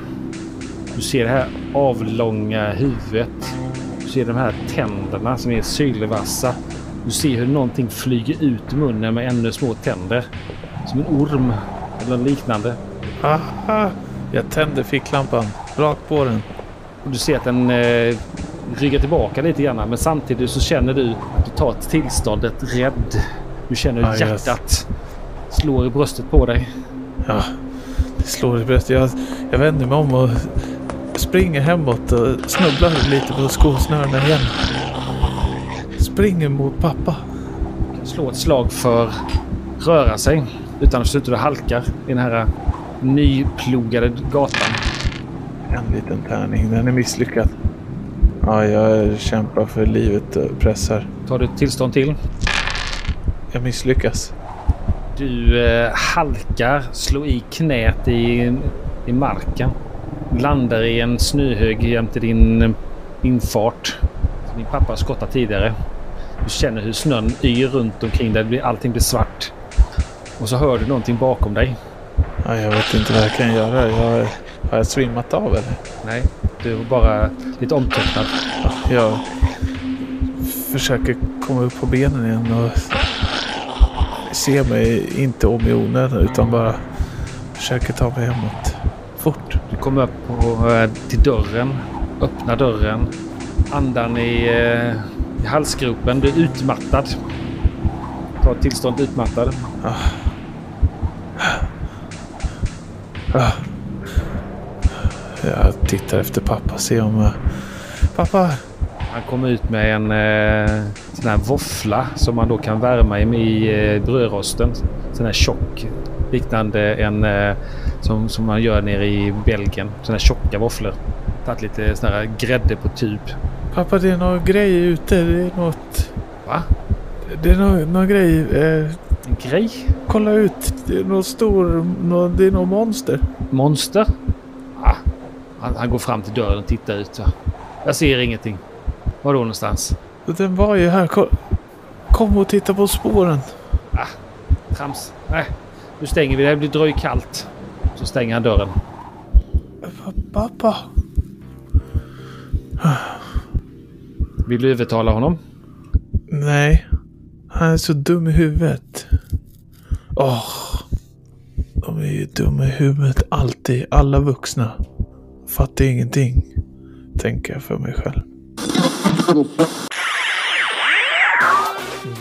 Du ser det här avlånga huvudet. Du ser de här tänderna som är sylvassa. Du ser hur någonting flyger ut ur munnen med ännu små tänder. Som en orm eller liknande. Aha! Jag tänder ficklampan. Rakt på den. Och du ser att den eh, ryggar tillbaka lite grann. Men samtidigt så känner du att du tar ett tillståndet rädd. Du känner hur Ah, yes. hjärtat slår i bröstet på dig. Ja, det slår i bröstet. Jag, jag vänder mig om och springer hemåt och snubblar lite på skosnörena igen. Springer mot pappa. Slå ett slag för röra sig utan att sluta och halkar i den här nyplogade gatan. En liten tärning. Den är misslyckad. Ja, jag kämpar för livet och pressar. Tar du ett tillstånd till? Jag misslyckas. Du eh, halkar, slår i knät i, i marken. Landar i en snöhög jämte din eh, infart. som Din pappa skottade tidigare. Du känner hur snön yr runt omkring dig. Det blir- Allting blir svart. Och så hör du någonting bakom dig. Ja, jag vet inte vad jag kan göra. Jag, har jag svimmat av eller? Nej, du är bara lite omtöcknad. Jag försöker komma upp på benen igen och se mig inte om i onödan utan bara försöker ta mig hemåt. Fort. Du kommer upp på, eh, till dörren. öppnar dörren. Andan i, eh, i halsgropen blir utmattad. Tar tillstånd utmattad. Ah. Jag tittar efter pappa, se om... eh, Pappa! Han kommer ut med en eh, sån här våffla som man då kan värma i, i eh, brödrosten. Sån här tjock. Liknande en eh, som, som man gör nere i Belgien. Såna här tjocka våfflor. Tagit lite sån här grädde på tub. Pappa, det är någon grej ute. Det är något... Va? Det är någon, någon grej. Eh... En grej? Kolla ut. Det är någon stor... Nå, det är någon monster. Monster? Ah, han, han går fram till dörren och tittar ut. va. Jag ser ingenting. Var då någonstans? Den var ju här. Ko- Kom och titta på spåren. Trams. Nej, nu stänger vi. Det här blir dröj kallt. Så stänger han dörren. Pappa! Vill du övertala honom? Nej. Han är så dum i huvudet. Åh. De är ju dumma i huvudet alltid. Alla vuxna. Fattar ingenting. Tänker jag för mig själv.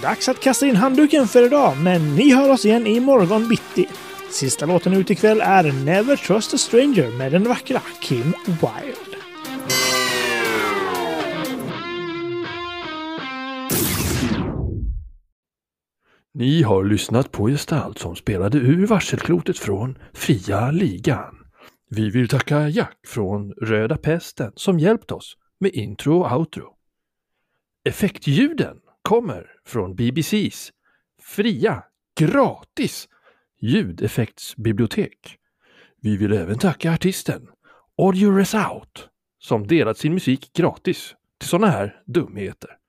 Dags att kasta in handduken för idag, men ni hör oss igen imorgon bitti. Sista låten ut ikväll är Never Trust a Stranger med den vackra Kim Wilde. Ni har lyssnat på gestalt som spelade ur varselklotet från Fria Ligan. Vi vill tacka Jack från Röda Pesten som hjälpt oss med intro och outro. Effektljuden kommer från BBCs fria, gratis ljudeffektsbibliotek. Vi vill även tacka artisten Audio Resout som delat sin musik gratis till sådana här dumheter.